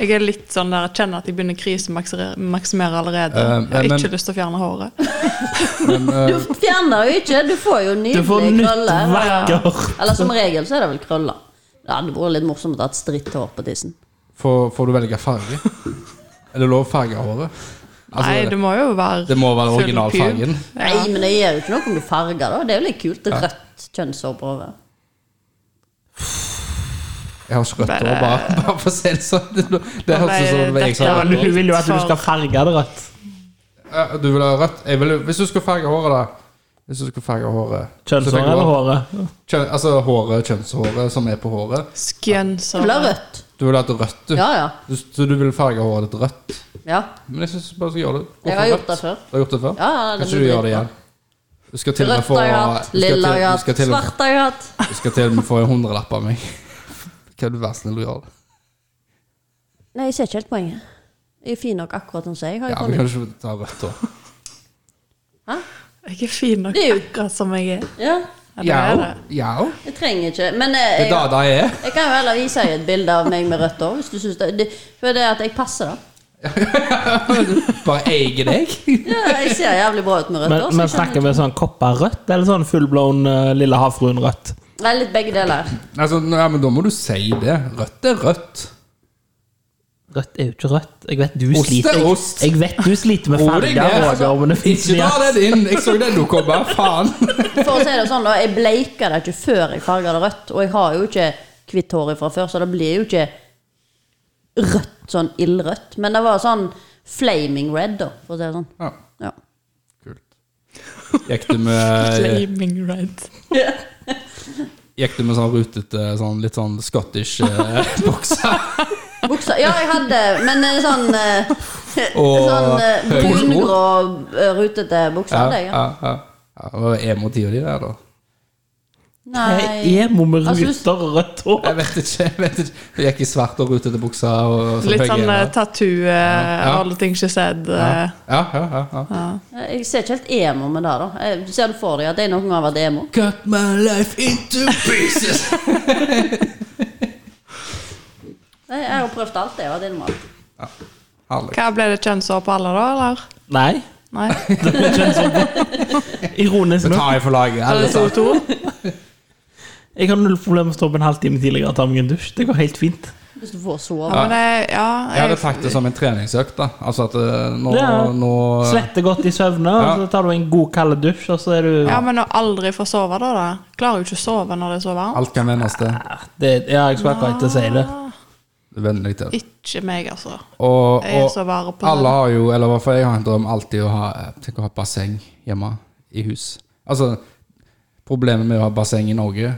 [SPEAKER 4] Jeg er litt sånn der, jeg kjenner at jeg begynner å krisemaksimere allerede.
[SPEAKER 2] Eh,
[SPEAKER 4] Jeg har
[SPEAKER 2] men-
[SPEAKER 4] ikke lyst til å fjerne håret.
[SPEAKER 2] Men, eh,
[SPEAKER 1] Du fjerner jo ikke, du får jo
[SPEAKER 3] Du får
[SPEAKER 1] nydelige
[SPEAKER 3] nytt
[SPEAKER 1] krøller.
[SPEAKER 3] vakkert.
[SPEAKER 1] Eller som regel så er det vel krøller. Det hadde vært litt morsomt å ha et stritt hår på tissen.
[SPEAKER 2] får, får du velge farge? Er det lov å farge håret? Altså,
[SPEAKER 4] Nei, det må jo være
[SPEAKER 2] det må være
[SPEAKER 4] full
[SPEAKER 2] originalfargen.
[SPEAKER 4] pub.
[SPEAKER 1] Nei,
[SPEAKER 4] Ja.
[SPEAKER 1] men det gjør jo ikke noe om du farger, da. Det er jo litt kult. Rødt kjønnshår på hodet.
[SPEAKER 2] Jeg har ikke rødt hår,
[SPEAKER 4] Bare-
[SPEAKER 2] bare, bare for å si det sånn. Det, det høres ut som det var jeg som
[SPEAKER 4] Dette
[SPEAKER 2] hadde
[SPEAKER 4] var
[SPEAKER 3] Men du vil jo at du skal farge det rødt.
[SPEAKER 2] Ja, Du vil ha rødt jeg vil, Hvis du skal farge håret da Hvis du skal farge håret så
[SPEAKER 3] Kjønnshår
[SPEAKER 2] tenker du bare-
[SPEAKER 3] eller håret?
[SPEAKER 2] Kjønn, altså håret, kjønnshåret som er på håret
[SPEAKER 1] Du vil ha
[SPEAKER 4] Skjønnsår.
[SPEAKER 1] rødt.
[SPEAKER 2] Du vil ha et rødt du.
[SPEAKER 1] Ja, ja.
[SPEAKER 2] Du, Så du vil farge håret ditt rødt
[SPEAKER 1] ja.
[SPEAKER 2] Men jeg synes bare du skal gjøre det Gå
[SPEAKER 1] Jeg
[SPEAKER 2] for
[SPEAKER 1] har gjort
[SPEAKER 2] rødt.
[SPEAKER 1] det før.
[SPEAKER 2] Du har gjort det før?
[SPEAKER 1] Ja, ja, det
[SPEAKER 2] Kanskje
[SPEAKER 1] blir
[SPEAKER 2] du gjør det
[SPEAKER 1] dritbra.
[SPEAKER 2] igjen Du skal til og med
[SPEAKER 1] Rødt
[SPEAKER 2] få
[SPEAKER 1] har jeg hatt,
[SPEAKER 2] du skal til-
[SPEAKER 1] lilla jeg har
[SPEAKER 2] du skal
[SPEAKER 1] hatt,
[SPEAKER 2] til og med-
[SPEAKER 1] svart har jeg hatt.
[SPEAKER 2] Du skal til og med få en hundrelapp av meg Kan du være snill og gjøre det
[SPEAKER 1] Nei, jeg ser ikke helt poenget. Jeg er fin nok akkurat sånn som jeg har.
[SPEAKER 2] Ja,
[SPEAKER 1] Ja,
[SPEAKER 2] vi kan ikke ta rødt hår.
[SPEAKER 4] Jeg er fin nok
[SPEAKER 1] Det er jo-
[SPEAKER 4] akkurat som jeg er.
[SPEAKER 1] ja,
[SPEAKER 4] Ja, det
[SPEAKER 2] Ja,
[SPEAKER 4] er det.
[SPEAKER 2] ja.
[SPEAKER 1] jeg trenger ikke Men eh,
[SPEAKER 2] Det er
[SPEAKER 1] jeg,
[SPEAKER 2] da det er.
[SPEAKER 1] jeg kan jo heller vise deg et bilde av meg med rødt hår, hvis du syns det, det For det er at jeg passer, da.
[SPEAKER 2] Bare eier deg.
[SPEAKER 1] Ja, jeg ser jævlig bra ut med rødt
[SPEAKER 3] Men,
[SPEAKER 1] hår. så
[SPEAKER 3] men
[SPEAKER 1] jeg skjønner-
[SPEAKER 3] snakker vi sånn kopperrødt, eller sånn fullblown eh, lille havfruen-rødt?
[SPEAKER 1] Nei, litt begge deler.
[SPEAKER 2] Altså, ja, men da må du si det. Rødt er rødt.
[SPEAKER 3] Rødt er jo ikke rødt. Jeg vet du
[SPEAKER 2] Ost er
[SPEAKER 3] sliter jeg,
[SPEAKER 2] ost.
[SPEAKER 3] jeg vet du sliter med
[SPEAKER 2] Ro deg
[SPEAKER 3] farger,
[SPEAKER 2] ned.
[SPEAKER 3] Roger, men det finnes
[SPEAKER 2] Ikke
[SPEAKER 3] mye-
[SPEAKER 2] dra den inn! Jeg så den dukke opp, bare faen.
[SPEAKER 1] For å si det sånn, da. Jeg bleiker det ikke før jeg farger det rødt. Og jeg har jo ikke hvitt hår fra før, så det blir jo ikke rødt, sånn ildrødt. Men det var sånn flaming red, da, for å si det sånn.
[SPEAKER 2] Ja,
[SPEAKER 1] Ja.
[SPEAKER 2] kult. Gikk du med,
[SPEAKER 4] Flaming red.
[SPEAKER 2] gikk du med sånn rutete, sånn, litt sånn scottish eh, bokser?
[SPEAKER 1] Buksa Ja, jeg hadde Men eh, sånn eh,
[SPEAKER 2] Og
[SPEAKER 1] Sånn eh,
[SPEAKER 2] høye sko.
[SPEAKER 1] brungrå, eh, rutete bukser
[SPEAKER 2] Ja,
[SPEAKER 1] hadde jeg.
[SPEAKER 2] ja,
[SPEAKER 1] Ja.
[SPEAKER 2] ja. ja det var emo-tida di der, da.
[SPEAKER 1] Nei
[SPEAKER 3] Jeg er emo med
[SPEAKER 1] Altså, hvis-
[SPEAKER 3] ruter og rødt hår.
[SPEAKER 2] Jeg vet ikke. jeg vet ikke. Hun gikk i svart og rutete bukser. Og, og
[SPEAKER 4] Litt sånn eh,
[SPEAKER 2] høye hæler.
[SPEAKER 4] tattoo, eh,
[SPEAKER 2] Ja.
[SPEAKER 4] all things she said. eh,
[SPEAKER 2] ja, ja, ja, ja.
[SPEAKER 1] Jeg ser ikke helt emo med det, da. Jeg ser du for deg at jeg noen gang har vært emo?
[SPEAKER 2] Cut my life into pieces!
[SPEAKER 1] Nei, Jeg har jo prøvd alt, jeg. Og det er normalt.
[SPEAKER 2] Herlig.
[SPEAKER 4] Hva ble det kjønnshår på alle, da? eller?
[SPEAKER 3] Nei.
[SPEAKER 4] Nei?
[SPEAKER 3] sånn. Ironisk
[SPEAKER 2] Vi
[SPEAKER 3] nok.
[SPEAKER 2] tar jeg for laget. alle
[SPEAKER 4] Eller to
[SPEAKER 2] sammen.
[SPEAKER 4] to?
[SPEAKER 3] Jeg har null problemer med å stå opp en halvtime tidligere og ta meg en dusj. Det går helt fint.
[SPEAKER 1] Hvis du får sove.
[SPEAKER 4] Ja, men jeg, ja,
[SPEAKER 2] Jeg hadde tatt det som en treningsøkt. da Altså at eh, nå,
[SPEAKER 3] Ja.
[SPEAKER 2] nå
[SPEAKER 3] Svette godt i søvne,
[SPEAKER 2] Ja.
[SPEAKER 3] og så tar du en god kald dusj, og så er du
[SPEAKER 4] ja, men å aldri få sove, da? da. Klarer jo ikke å sove når det er så varmt. Ah,
[SPEAKER 2] Alt kan vendes til.
[SPEAKER 3] det, Ja, jeg skulle akkurat til å si det.
[SPEAKER 2] Vennlig til.
[SPEAKER 4] Ikke meg, altså.
[SPEAKER 2] Og,
[SPEAKER 4] Jeg er så
[SPEAKER 2] og
[SPEAKER 4] vare på
[SPEAKER 2] alle
[SPEAKER 4] det.
[SPEAKER 2] har jo, eller i hvert fall jeg har en drøm alltid å ha, tenk å ha basseng hjemme i hus. Altså, problemet med å ha basseng i Norge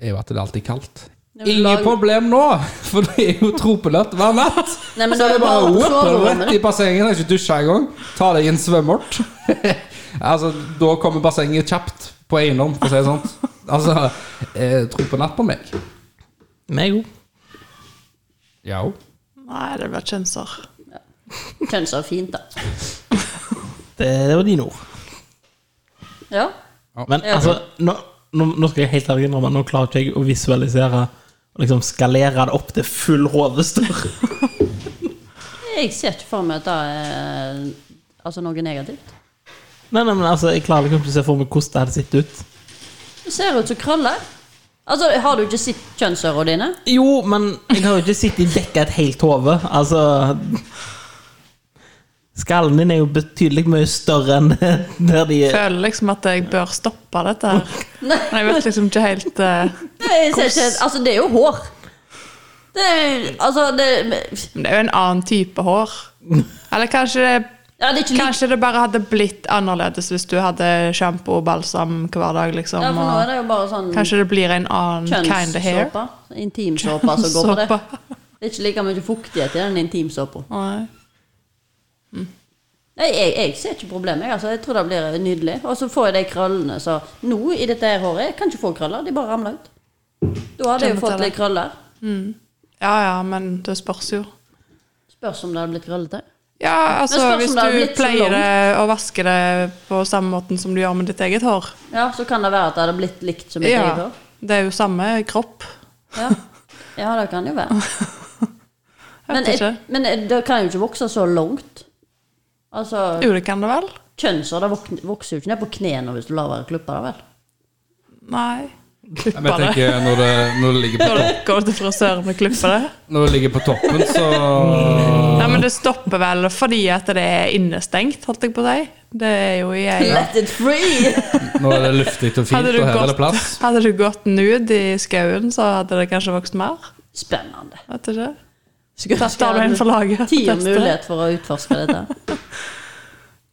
[SPEAKER 2] er jo at det er alltid kaldt.
[SPEAKER 1] Ja, men
[SPEAKER 2] Ingen
[SPEAKER 1] lag-
[SPEAKER 2] problem nå, for det er jo tropeløtt hver natt.
[SPEAKER 1] Nei, men
[SPEAKER 2] Så
[SPEAKER 1] da
[SPEAKER 2] er det bare å hoppe
[SPEAKER 1] soverommet
[SPEAKER 2] rett i bassenget, har ikke dusja engang. Ta deg en svømmert. altså, da kommer bassenget kjapt på eiendom, for å si det sånn. Altså, eh, tropeløtt på meg.
[SPEAKER 3] Vi er gode.
[SPEAKER 2] Ja.
[SPEAKER 4] Nei, det blir kjønnshår.
[SPEAKER 1] Kjønns er fint, da.
[SPEAKER 3] Det, det var dine ord.
[SPEAKER 1] Ja.
[SPEAKER 3] Men
[SPEAKER 1] Ja.
[SPEAKER 3] altså, nå, nå, nå skal jeg helt ærlig innrømme Nå klarer ikke jeg å visualisere og liksom skalere det opp til full hovedstør.
[SPEAKER 1] Jeg ser ikke for meg at det er altså, noe negativt.
[SPEAKER 3] Nei, nei, men altså, jeg klarer liksom ikke å se for meg hvordan det hadde sett ut.
[SPEAKER 1] Du ser ut som krøller. Altså, har du ikke sett kjønnsørene dine?
[SPEAKER 3] Jo, men jeg har jo ikke sittet i dekka et helt hode. Altså Skallen din er jo betydelig mye større enn der de
[SPEAKER 4] Jeg
[SPEAKER 3] er.
[SPEAKER 4] føler liksom at jeg bør stoppe dette her.
[SPEAKER 1] Nei,
[SPEAKER 4] Men jeg vet liksom ikke helt eh,
[SPEAKER 1] Nei, jeg ser ikke helt Altså, det er jo hår. Det er Altså, det
[SPEAKER 4] Men det er jo en annen type hår. Eller kanskje det,
[SPEAKER 1] Ja, det er ikke likt.
[SPEAKER 4] kanskje det bare hadde blitt annerledes hvis du hadde sjampo og balsam hver dag, liksom.
[SPEAKER 1] Ja, for nå er
[SPEAKER 4] Og
[SPEAKER 1] det jo bare sånn
[SPEAKER 4] kanskje det blir en annen kind of hair.
[SPEAKER 1] kjønnssåpe. Intimsåpe som går på det.
[SPEAKER 4] Såpe.
[SPEAKER 1] Det er ikke like mye fuktighet i den intimsåpa.
[SPEAKER 4] Nei.
[SPEAKER 1] Nei, jeg, jeg ser ikke problemet. Jeg, altså. jeg tror det blir nydelig. Og så får jeg de krøllene så Nå i dette her håret jeg kan ikke få krøller. De bare ramler ut. Da hadde jeg jo
[SPEAKER 4] Kjenner til
[SPEAKER 1] fått
[SPEAKER 4] det.
[SPEAKER 1] litt krøller.
[SPEAKER 4] Ja ja, men det spørs jo.
[SPEAKER 1] Spørs om det hadde blitt krøllete.
[SPEAKER 4] Ja, altså
[SPEAKER 1] spørs om
[SPEAKER 4] hvis
[SPEAKER 1] det har
[SPEAKER 4] du
[SPEAKER 1] blitt så
[SPEAKER 4] pleier
[SPEAKER 1] langt.
[SPEAKER 4] det og vasker det på samme måten som du gjør med ditt eget hår.
[SPEAKER 1] Ja, så kan det være at det hadde blitt likt som et eget
[SPEAKER 4] Ja,
[SPEAKER 1] hår.
[SPEAKER 4] det er jo samme kropp.
[SPEAKER 1] Ja. ja, det kan det jo være. Men,
[SPEAKER 4] vet ikke.
[SPEAKER 1] et- men et- det kan jo ikke vokse så langt. Altså,
[SPEAKER 4] Jo, det kan det vel?
[SPEAKER 1] kjønnshår det vok- vokser jo ikke ned på knærne hvis du lar være å klippe det, vel?
[SPEAKER 4] Nei.
[SPEAKER 2] Men jeg
[SPEAKER 4] Klipper det.
[SPEAKER 2] tenker når det, når det ligger på
[SPEAKER 4] Når du går til frisøren og klipper det.
[SPEAKER 2] Når det ligger på toppen, så
[SPEAKER 4] Nei, men det stopper vel fordi at det er innestengt, holdt jeg på å si. Det er jo i ei
[SPEAKER 1] Let it free!
[SPEAKER 2] Nå er det luftig og fint,
[SPEAKER 4] Hadde du
[SPEAKER 2] og her er det
[SPEAKER 4] gått,
[SPEAKER 2] plass.
[SPEAKER 4] hadde du gått nude i skauen, så hadde det kanskje vokst mer.
[SPEAKER 1] Spennende.
[SPEAKER 4] Vet du ikke?
[SPEAKER 1] Skulle
[SPEAKER 4] Da tar du en for laget. og
[SPEAKER 1] Ti år
[SPEAKER 4] tester.
[SPEAKER 1] mulighet for å utforske dette.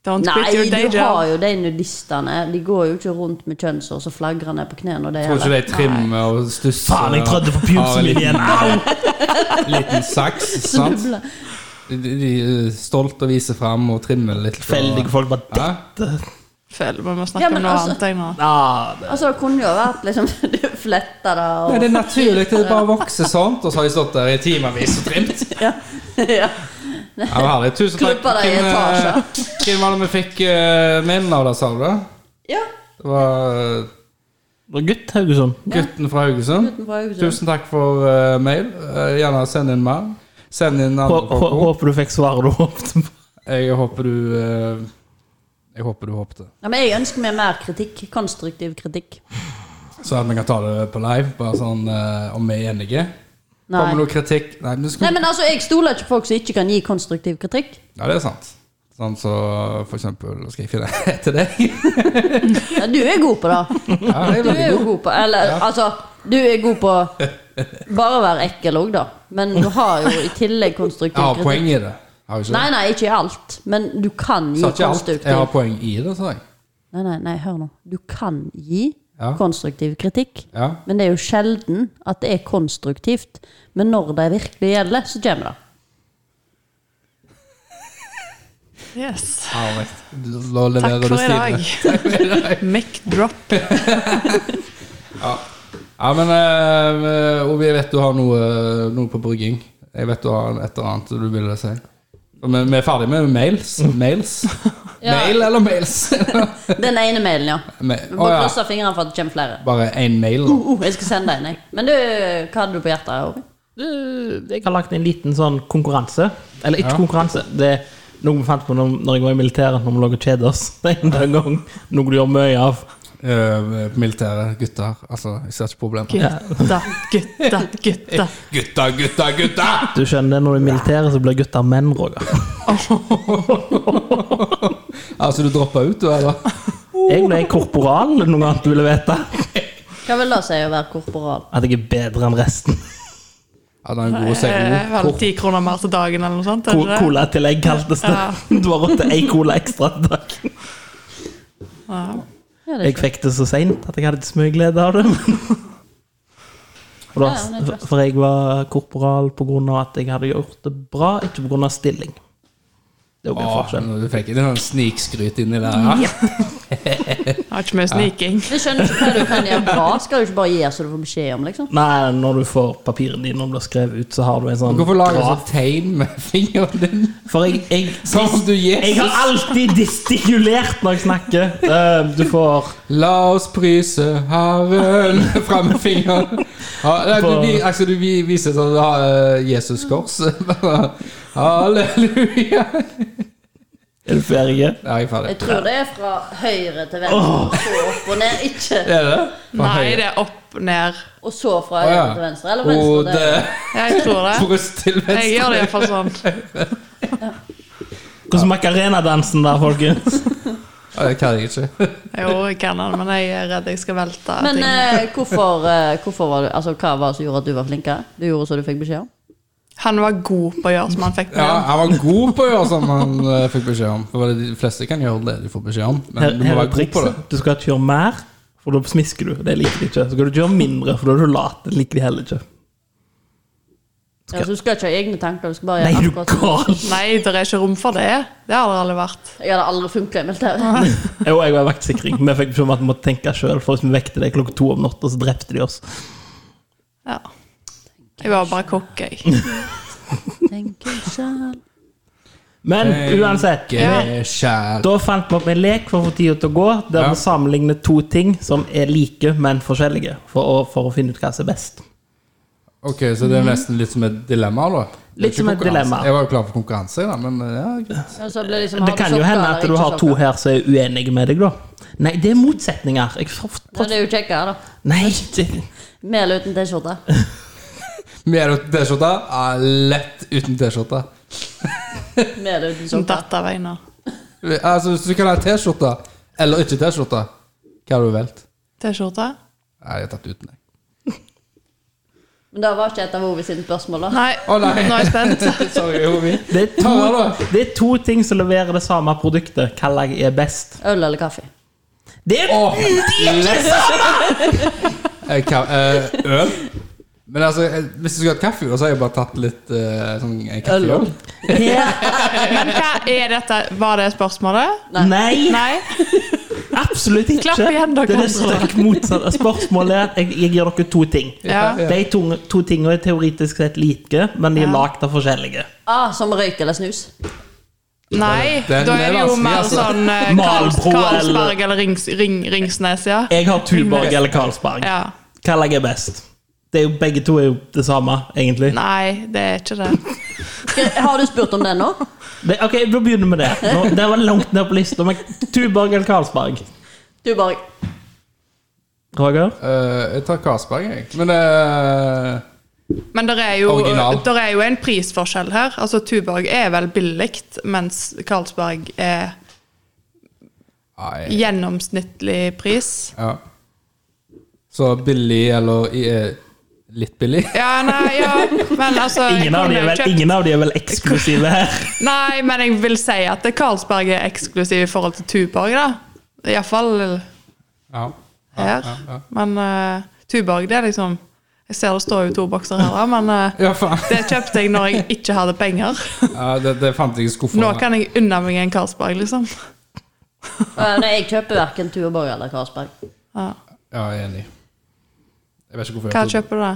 [SPEAKER 4] Don't quit your
[SPEAKER 1] Nei,
[SPEAKER 4] day
[SPEAKER 1] du har
[SPEAKER 4] job.
[SPEAKER 1] jo de nudistene. De går jo ikke rundt med kjønnshår som flagrer ned på knærne. og det
[SPEAKER 2] Tror ikke
[SPEAKER 1] heller.
[SPEAKER 2] de trimmer og stusser.
[SPEAKER 3] Faen, jeg trådde
[SPEAKER 2] og
[SPEAKER 3] på
[SPEAKER 2] har eh,
[SPEAKER 3] pubesen
[SPEAKER 2] en
[SPEAKER 3] min igjen! Au!
[SPEAKER 2] Liten, liten saks, sant?
[SPEAKER 1] Snubler.
[SPEAKER 2] De, de er stolt og viser fram og trimmer litt. og-
[SPEAKER 3] Tilfeldige folk bare
[SPEAKER 2] Hæ?
[SPEAKER 3] dette
[SPEAKER 4] Føler vi må
[SPEAKER 1] Ja,
[SPEAKER 4] snakke
[SPEAKER 1] men
[SPEAKER 4] om noe
[SPEAKER 1] altså-
[SPEAKER 4] annet. Jeg, nå.
[SPEAKER 3] Ja, det-
[SPEAKER 1] Altså, det kunne jo vært liksom Du fletta det og
[SPEAKER 2] Nei, det er naturlig. Det bare vokser sånt. Og så har de stått der i timevis og trimt.
[SPEAKER 1] ja.
[SPEAKER 2] Ja, men herlig. Tusen takk.
[SPEAKER 1] Klipper deg i
[SPEAKER 2] Hvem, eh,
[SPEAKER 1] etasjer.
[SPEAKER 2] Hvem var det vi fikk uh, mailen av, da, sa du? det?
[SPEAKER 1] ja.
[SPEAKER 2] Det var eh,
[SPEAKER 3] Det var gutt Haugesund.
[SPEAKER 2] gutten fra Haugesund.
[SPEAKER 1] Utenfor Haugesund.
[SPEAKER 2] Tusen takk for eh, mail. Eh, gjerne send inn mer. Send inn andre
[SPEAKER 3] Hå- hå-
[SPEAKER 2] folk.
[SPEAKER 3] Håper du fikk svaret du håpet på.
[SPEAKER 2] Jeg håper du eh, Jeg håper du håpte.
[SPEAKER 1] Ja, men jeg ønsker meg mer kritikk. Konstruktiv kritikk.
[SPEAKER 2] Så at vi kan ta det på live, bare sånn eh, om vi er enige.
[SPEAKER 1] Nei.
[SPEAKER 2] Kommer noe kritikk Nei, men skal...
[SPEAKER 1] Nei, men altså, jeg stoler ikke på folk som ikke kan gi konstruktiv kritikk.
[SPEAKER 2] Ja, det er sant. Sånn så for eksempel Skal jeg finne etter deg?
[SPEAKER 1] Ja, du er god på det.
[SPEAKER 2] Ja, det er
[SPEAKER 1] Du er
[SPEAKER 2] veldig
[SPEAKER 1] jo
[SPEAKER 2] god.
[SPEAKER 1] god på Eller altså, du er god på bare å være ekkel òg, da. Men du har jo i tillegg konstruktiv
[SPEAKER 2] Jeg har
[SPEAKER 1] kritikk.
[SPEAKER 2] poeng i det. Har jeg ikke
[SPEAKER 1] Nei,
[SPEAKER 2] det?
[SPEAKER 1] nei, ikke i alt. Men du kan gi
[SPEAKER 2] Sa ikke alt.
[SPEAKER 1] konstruktiv
[SPEAKER 2] Jeg har poeng i det, sa jeg.
[SPEAKER 1] Nei, nei, nei, hør nå. Du kan gi
[SPEAKER 2] Ja.
[SPEAKER 1] konstruktiv kritikk.
[SPEAKER 2] Ja.
[SPEAKER 1] Men det er jo sjelden at det er konstruktivt. Men når det virkelig gjelder, så kommer det.
[SPEAKER 4] Yes.
[SPEAKER 2] Herlig. Da leverer du
[SPEAKER 4] Takk for i
[SPEAKER 2] stilen.
[SPEAKER 4] dag. Mic drop.
[SPEAKER 2] Ja, men eh, Ovi, jeg vet du har noe, eh, noe på brygging. Jeg vet du har et eller annet du ville si. Men vi er ferdig med mails. Mails? Mail eller mails?
[SPEAKER 1] Den ene mailen, ja.
[SPEAKER 2] Me-
[SPEAKER 1] Vi
[SPEAKER 2] Å,
[SPEAKER 1] Bare
[SPEAKER 2] ja.
[SPEAKER 1] krysser fingrene for at det kommer flere.
[SPEAKER 2] Bare én mail? da.
[SPEAKER 1] Oh, jeg skal sende deg en, jeg. Men du, hva hadde du på hjertet? Ovi?
[SPEAKER 3] Du, Jeg har lagt en liten sånn konkurranse. Eller ikke
[SPEAKER 2] Ja.
[SPEAKER 3] konkurranse. Det er noe vi fant på når, når jeg var i militæret, når vi lå og kjedet oss. Det er en gang noe du gjør mye av.
[SPEAKER 2] Eh, militære gutter. Altså, jeg ser ikke problemet.
[SPEAKER 4] Gutta, gutta, gutta.
[SPEAKER 2] Gutta, gutta, gutta!
[SPEAKER 3] Du skjønner, når du er i militæret, så blir gutter menn, Roger.
[SPEAKER 2] Altså, du droppa ut, du, eller?
[SPEAKER 3] Jeg ble korporal, er det noe annet du ville vite?
[SPEAKER 1] Hva vil det si å være korporal?
[SPEAKER 3] At jeg er bedre enn resten.
[SPEAKER 2] Ja, den er god å si.
[SPEAKER 4] Eh, Vel
[SPEAKER 2] Kor-
[SPEAKER 4] ti kroner mer til dagen eller noe sånt? er
[SPEAKER 3] Co-
[SPEAKER 4] det det?
[SPEAKER 3] Colatillegg kaltes det. Du har råd til én cola ekstra til dagen.
[SPEAKER 4] Ja.
[SPEAKER 1] Ja, det er
[SPEAKER 3] Jeg fikk det så seint at jeg hadde ikke så mye glede av det. men- Og da,
[SPEAKER 1] Ja, ja, men det er klart.
[SPEAKER 3] for jeg var korporal pga. at jeg hadde gjort det bra, ikke pga. stilling. Det er jo en
[SPEAKER 2] Åh,
[SPEAKER 3] forskjell.
[SPEAKER 2] nå fikk jeg litt sånn snikskryt inni der. Ja.
[SPEAKER 4] Har ikke mye sniking.
[SPEAKER 1] Jeg skjønner ikke hva du kan gjøre bra. Skal du ikke bare gi så du får beskjed om, liksom?
[SPEAKER 3] Nei, når du får papirene dine og blir skrevet ut, så har du en sånn
[SPEAKER 2] Hvorfor lager du
[SPEAKER 3] graf.
[SPEAKER 2] sånn tegn med fingeren din? Sånn
[SPEAKER 3] For jeg, jeg,
[SPEAKER 2] Som om du
[SPEAKER 3] jeg
[SPEAKER 2] gir
[SPEAKER 3] har alltid gestikulert når jeg snakker. Eh, Du får
[SPEAKER 2] La oss prise Herren fram med fingeren. Ja, nei, du, vi, altså, du vi- viser sånn da, eh, Jesus-kors. Halleluja.
[SPEAKER 3] Er du ferdig?
[SPEAKER 2] Ja, jeg er ferdig.
[SPEAKER 1] Jeg tror det er fra høyre til venstre, så opp og ned, ikke
[SPEAKER 2] Er det? Fra
[SPEAKER 4] Nei,
[SPEAKER 2] høyre.
[SPEAKER 4] det er opp, ned.
[SPEAKER 1] Og så fra
[SPEAKER 2] Å, ja.
[SPEAKER 1] høyre til venstre, eller
[SPEAKER 2] Og
[SPEAKER 1] venstre til høyre.
[SPEAKER 2] det
[SPEAKER 4] Ja, jeg tror det.
[SPEAKER 2] Brust til venstre.
[SPEAKER 4] Jeg gjør det iallfall sånn.
[SPEAKER 3] Hvordan Macarena-dansen der, folkens?
[SPEAKER 2] Ja, det kan jeg ikke.
[SPEAKER 4] Jo, jeg kan den, men jeg er redd jeg skal velte
[SPEAKER 1] Men
[SPEAKER 4] ting.
[SPEAKER 1] eh, hvorfor, eh, hvorfor var du Altså, hva var det som gjorde at du var flinkere? Du gjorde som du fikk beskjed om?
[SPEAKER 4] Han var god på å gjøre som han fikk
[SPEAKER 2] Ja,
[SPEAKER 4] med.
[SPEAKER 2] han var god på å gjøre som han eh, fikk beskjed om. For De fleste kan gjøre det de får beskjed om,
[SPEAKER 3] Her,
[SPEAKER 2] men du
[SPEAKER 3] her
[SPEAKER 2] må
[SPEAKER 3] er
[SPEAKER 2] være god på det.
[SPEAKER 3] trikset. Du skal ikke gjøre mer, for da smisker du. Det liker de ikke. Så skal du ikke gjøre mindre, for da er du lat. Det liker de heller ikke.
[SPEAKER 1] Ja, så Altså, du skal ikke ha egne tanker, du skal bare
[SPEAKER 3] Nei,
[SPEAKER 1] gjøre
[SPEAKER 3] du
[SPEAKER 1] akkurat som-
[SPEAKER 3] gal!
[SPEAKER 4] Nei, det er ikke rom for det. Det har det aldri vært.
[SPEAKER 1] Jeg hadde aldri funka i militæret.
[SPEAKER 3] Jo, jeg var i vaktsikring. Vi fikk beskjed om at vi måtte tenke sjøl, for hvis vi vekte deg klokka to om natta, så drepte de oss.
[SPEAKER 4] Ja. Jeg var bare kokk, jeg.
[SPEAKER 1] Tenker selv.
[SPEAKER 3] Men uansett.
[SPEAKER 2] Ikke Kjær.
[SPEAKER 3] Da fant vi opp en lek for å få tida til å gå, der
[SPEAKER 2] Ja.
[SPEAKER 3] vi sammenligner to ting som er like, men forskjellige, for å, for å finne ut hva som er best.
[SPEAKER 2] Ok, så det er nesten litt som et dilemma, da? Det er
[SPEAKER 3] Litt
[SPEAKER 2] ikke
[SPEAKER 3] som et
[SPEAKER 2] konkurranse.
[SPEAKER 3] dilemma.
[SPEAKER 2] Jeg var jo klar for konkurranse, da, men eh, ja, greit.
[SPEAKER 1] Ja, så ble det liksom, har
[SPEAKER 3] Det
[SPEAKER 1] du
[SPEAKER 3] kan jo
[SPEAKER 1] sokker
[SPEAKER 3] hende
[SPEAKER 1] eller
[SPEAKER 3] at du
[SPEAKER 1] ikke
[SPEAKER 3] har to
[SPEAKER 1] sokker?
[SPEAKER 3] her som er uenige med deg, da. Nei, det er motsetninger. Jeg får-
[SPEAKER 1] Ja, det er jo kjekkere, da.
[SPEAKER 3] Nei, det-
[SPEAKER 1] Mel uten T-skjorte.
[SPEAKER 2] Mer uten T-skjorte? Ja, lett uten T-skjorte.
[SPEAKER 1] Mel uten
[SPEAKER 4] Som
[SPEAKER 1] sokker.
[SPEAKER 4] datt av veina.
[SPEAKER 2] Altså, hvis du kan ha T-skjorte eller ikke T-skjorte, hva har du valgt?
[SPEAKER 4] T-skjorte?
[SPEAKER 2] Nei, jeg har tatt uten, jeg.
[SPEAKER 1] Men det var ikke et av Ovi sine spørsmål, da.
[SPEAKER 4] Nei,
[SPEAKER 2] Å, nei.
[SPEAKER 4] nå er jeg spent.
[SPEAKER 2] Sorry, Ovi.
[SPEAKER 3] Det
[SPEAKER 2] Ta det,
[SPEAKER 3] er, to,
[SPEAKER 2] da.
[SPEAKER 3] det er to ting som leverer det samme produktet. Hva jeg er best.
[SPEAKER 1] Øl eller kaffe?
[SPEAKER 3] Det er
[SPEAKER 2] Åh, Eh, ka- eh, Øl? Men altså, eh, hvis du skulle hatt kaffe, da, så har jeg bare tatt litt eh, sånn eh, kaffeøl.
[SPEAKER 3] her.
[SPEAKER 4] Men hva er dette? Var det spørsmålet?
[SPEAKER 3] Nei!
[SPEAKER 4] Nei?
[SPEAKER 3] Absolutt ikke.
[SPEAKER 4] Klapp igjen, dere
[SPEAKER 3] det er det
[SPEAKER 4] andre.
[SPEAKER 3] stikk motsatte spørsmålet. er at Jeg, jeg gir dere to ting.
[SPEAKER 4] Ja.
[SPEAKER 2] Ja.
[SPEAKER 3] De to, to tingene er teoretisk sett like, men de er lagd av forskjellige.
[SPEAKER 1] Ah, som røyk eller snus.
[SPEAKER 4] Nei,
[SPEAKER 2] Den
[SPEAKER 4] da
[SPEAKER 2] er
[SPEAKER 4] er det jo
[SPEAKER 2] vanskelig,
[SPEAKER 4] mer
[SPEAKER 2] altså.
[SPEAKER 4] sånn eh, Karls,
[SPEAKER 3] Marlboro
[SPEAKER 4] Karlsberg eller Rings, Ring, Ringsnes, ja.
[SPEAKER 3] Jeg har Tuborg eller Karlsberg.
[SPEAKER 4] ja.
[SPEAKER 3] Hva legger jeg best? Det er jo, begge to er jo det samme, egentlig.
[SPEAKER 4] Nei, det er ikke det.
[SPEAKER 1] Skal- Har du spurt om den nå?
[SPEAKER 3] Det, ok, Da begynner vi med det. Nå, det var langt ned på lista, men Tuborg eller Karlsberg?
[SPEAKER 1] Du bare
[SPEAKER 3] Roger?
[SPEAKER 2] Eh, jeg tar Karlsberg, jeg. Men eh,
[SPEAKER 4] Men det er, jo,
[SPEAKER 2] Original.
[SPEAKER 4] der er jo en prisforskjell her. Altså, Tuborg er vel billig, mens Karlsberg er
[SPEAKER 2] Nei.
[SPEAKER 4] gjennomsnittlig pris.
[SPEAKER 2] Ja. Så billig eller eh, litt billig?
[SPEAKER 4] Ja, nei, ja, men altså jeg
[SPEAKER 3] Ingen av, de
[SPEAKER 4] kunne
[SPEAKER 3] er vel,
[SPEAKER 4] kjøpt-
[SPEAKER 3] ingen av de er vel eksklusive her.
[SPEAKER 4] Nei, men jeg vil si at Karlsberg er eksklusiv i forhold til Tuborg, da. Iallfall
[SPEAKER 2] Ja.
[SPEAKER 4] her.
[SPEAKER 2] ja, ja.
[SPEAKER 4] Men eh, Tuborg, det er liksom Jeg ser det står jo to bokser her, da, men eh,
[SPEAKER 2] Ja, faen.
[SPEAKER 4] det kjøpte jeg når jeg ikke hadde penger.
[SPEAKER 2] Ja, det, det fant jeg i skuffen.
[SPEAKER 4] Nå kan jeg unne meg en Karlsberg, liksom.
[SPEAKER 1] Eh, Nei, jeg kjøper verken Tuborg eller Karlsberg.
[SPEAKER 4] Ja.
[SPEAKER 2] Ja, jeg er enig. Jeg vet ikke hvorfor
[SPEAKER 4] Hva
[SPEAKER 2] jeg tok-
[SPEAKER 4] kjøper du, da?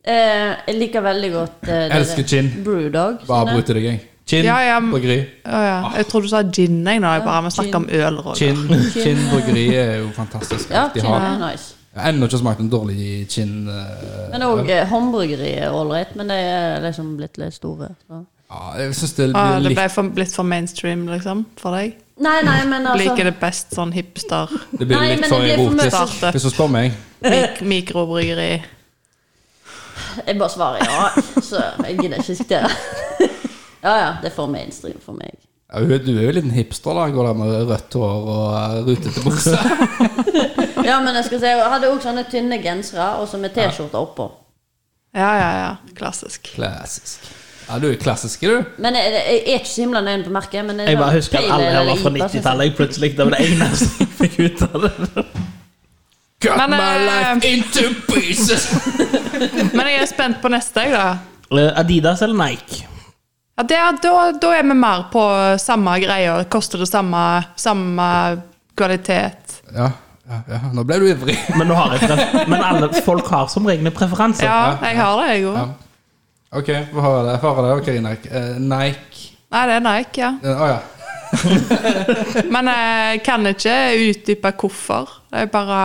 [SPEAKER 1] Eh, jeg liker veldig godt eh, det
[SPEAKER 2] Elsker gin.
[SPEAKER 1] Brewdog.
[SPEAKER 2] Bare
[SPEAKER 1] sånn der.
[SPEAKER 2] avbryter deg, jeg. Gin,
[SPEAKER 4] Ja, ja, men-
[SPEAKER 2] bryggeri.
[SPEAKER 4] Å ja. Jeg trodde du sa gin. Jeg, nå. Jeg bare, vi snakker om øl. Roger.
[SPEAKER 2] Gin, gin bryggeri er jo fantastisk.
[SPEAKER 1] Ja,
[SPEAKER 2] alt de
[SPEAKER 1] gin
[SPEAKER 2] har.
[SPEAKER 1] er nice.
[SPEAKER 2] Jeg har ennå ikke smakt en dårlig gin. eh,
[SPEAKER 1] Men òg eh, håndbryggeri er ålreit, men det er liksom blitt litt store. Så.
[SPEAKER 2] ja, jeg syns
[SPEAKER 1] Ah,
[SPEAKER 2] det
[SPEAKER 4] Å,
[SPEAKER 2] blir
[SPEAKER 4] det
[SPEAKER 2] litt,
[SPEAKER 4] ble for, blitt for mainstream, liksom, for deg?
[SPEAKER 1] Nei, nei, men altså
[SPEAKER 4] Liker det best sånn hipster
[SPEAKER 2] det blir
[SPEAKER 1] Nei,
[SPEAKER 2] litt
[SPEAKER 1] men
[SPEAKER 2] for
[SPEAKER 1] det blir for mye
[SPEAKER 2] erotisk,
[SPEAKER 4] starte.
[SPEAKER 2] hvis du spør meg.
[SPEAKER 4] mik mikrobryggeri?
[SPEAKER 1] Jeg bare svarer ja, så jeg gidder ikke sitere. Ja ja, det er for mainstream for meg.
[SPEAKER 2] Ja, hun- du er jo en liten hipster, da. Går der med rødt hår og eh, rutete bukse.
[SPEAKER 1] Ja, men jeg skal si, jeg hadde òg sånne tynne gensere, og så med T-skjorte oppå.
[SPEAKER 4] Ja, ja, ja. Klassisk.
[SPEAKER 2] Klassisk. Ja, du er klassisk, du.
[SPEAKER 1] Men jeg, jeg er ikke så himla nøye på merket. Men
[SPEAKER 3] Jeg bare husker at alle her var fra 90-tallet. Jeg plutselig, Det var det eneste jeg fikk ut av det.
[SPEAKER 2] Cut
[SPEAKER 4] Men,
[SPEAKER 2] my
[SPEAKER 4] eh,
[SPEAKER 2] life into pieces!
[SPEAKER 4] Men jeg er spent på neste, jeg, da.
[SPEAKER 3] Eh, Adidas eller Nike?
[SPEAKER 4] Ja, det er, da, da er vi mer på samme greia. Koster det samme, samme kvalitet?
[SPEAKER 2] ja, ja, ja, nå ble du ivrig.
[SPEAKER 3] Men, nå har jeg pref- men alle folk har som regel preferanser.
[SPEAKER 4] Ja, jeg har det, jeg òg.
[SPEAKER 2] Ja. OK, få høre det. Få høre det, Karina. Eh, Nike
[SPEAKER 4] Nei, det er Nike, ja.
[SPEAKER 2] Eh, Å ja.
[SPEAKER 4] Men eh, jeg kan ikke utdype hvorfor. Det er bare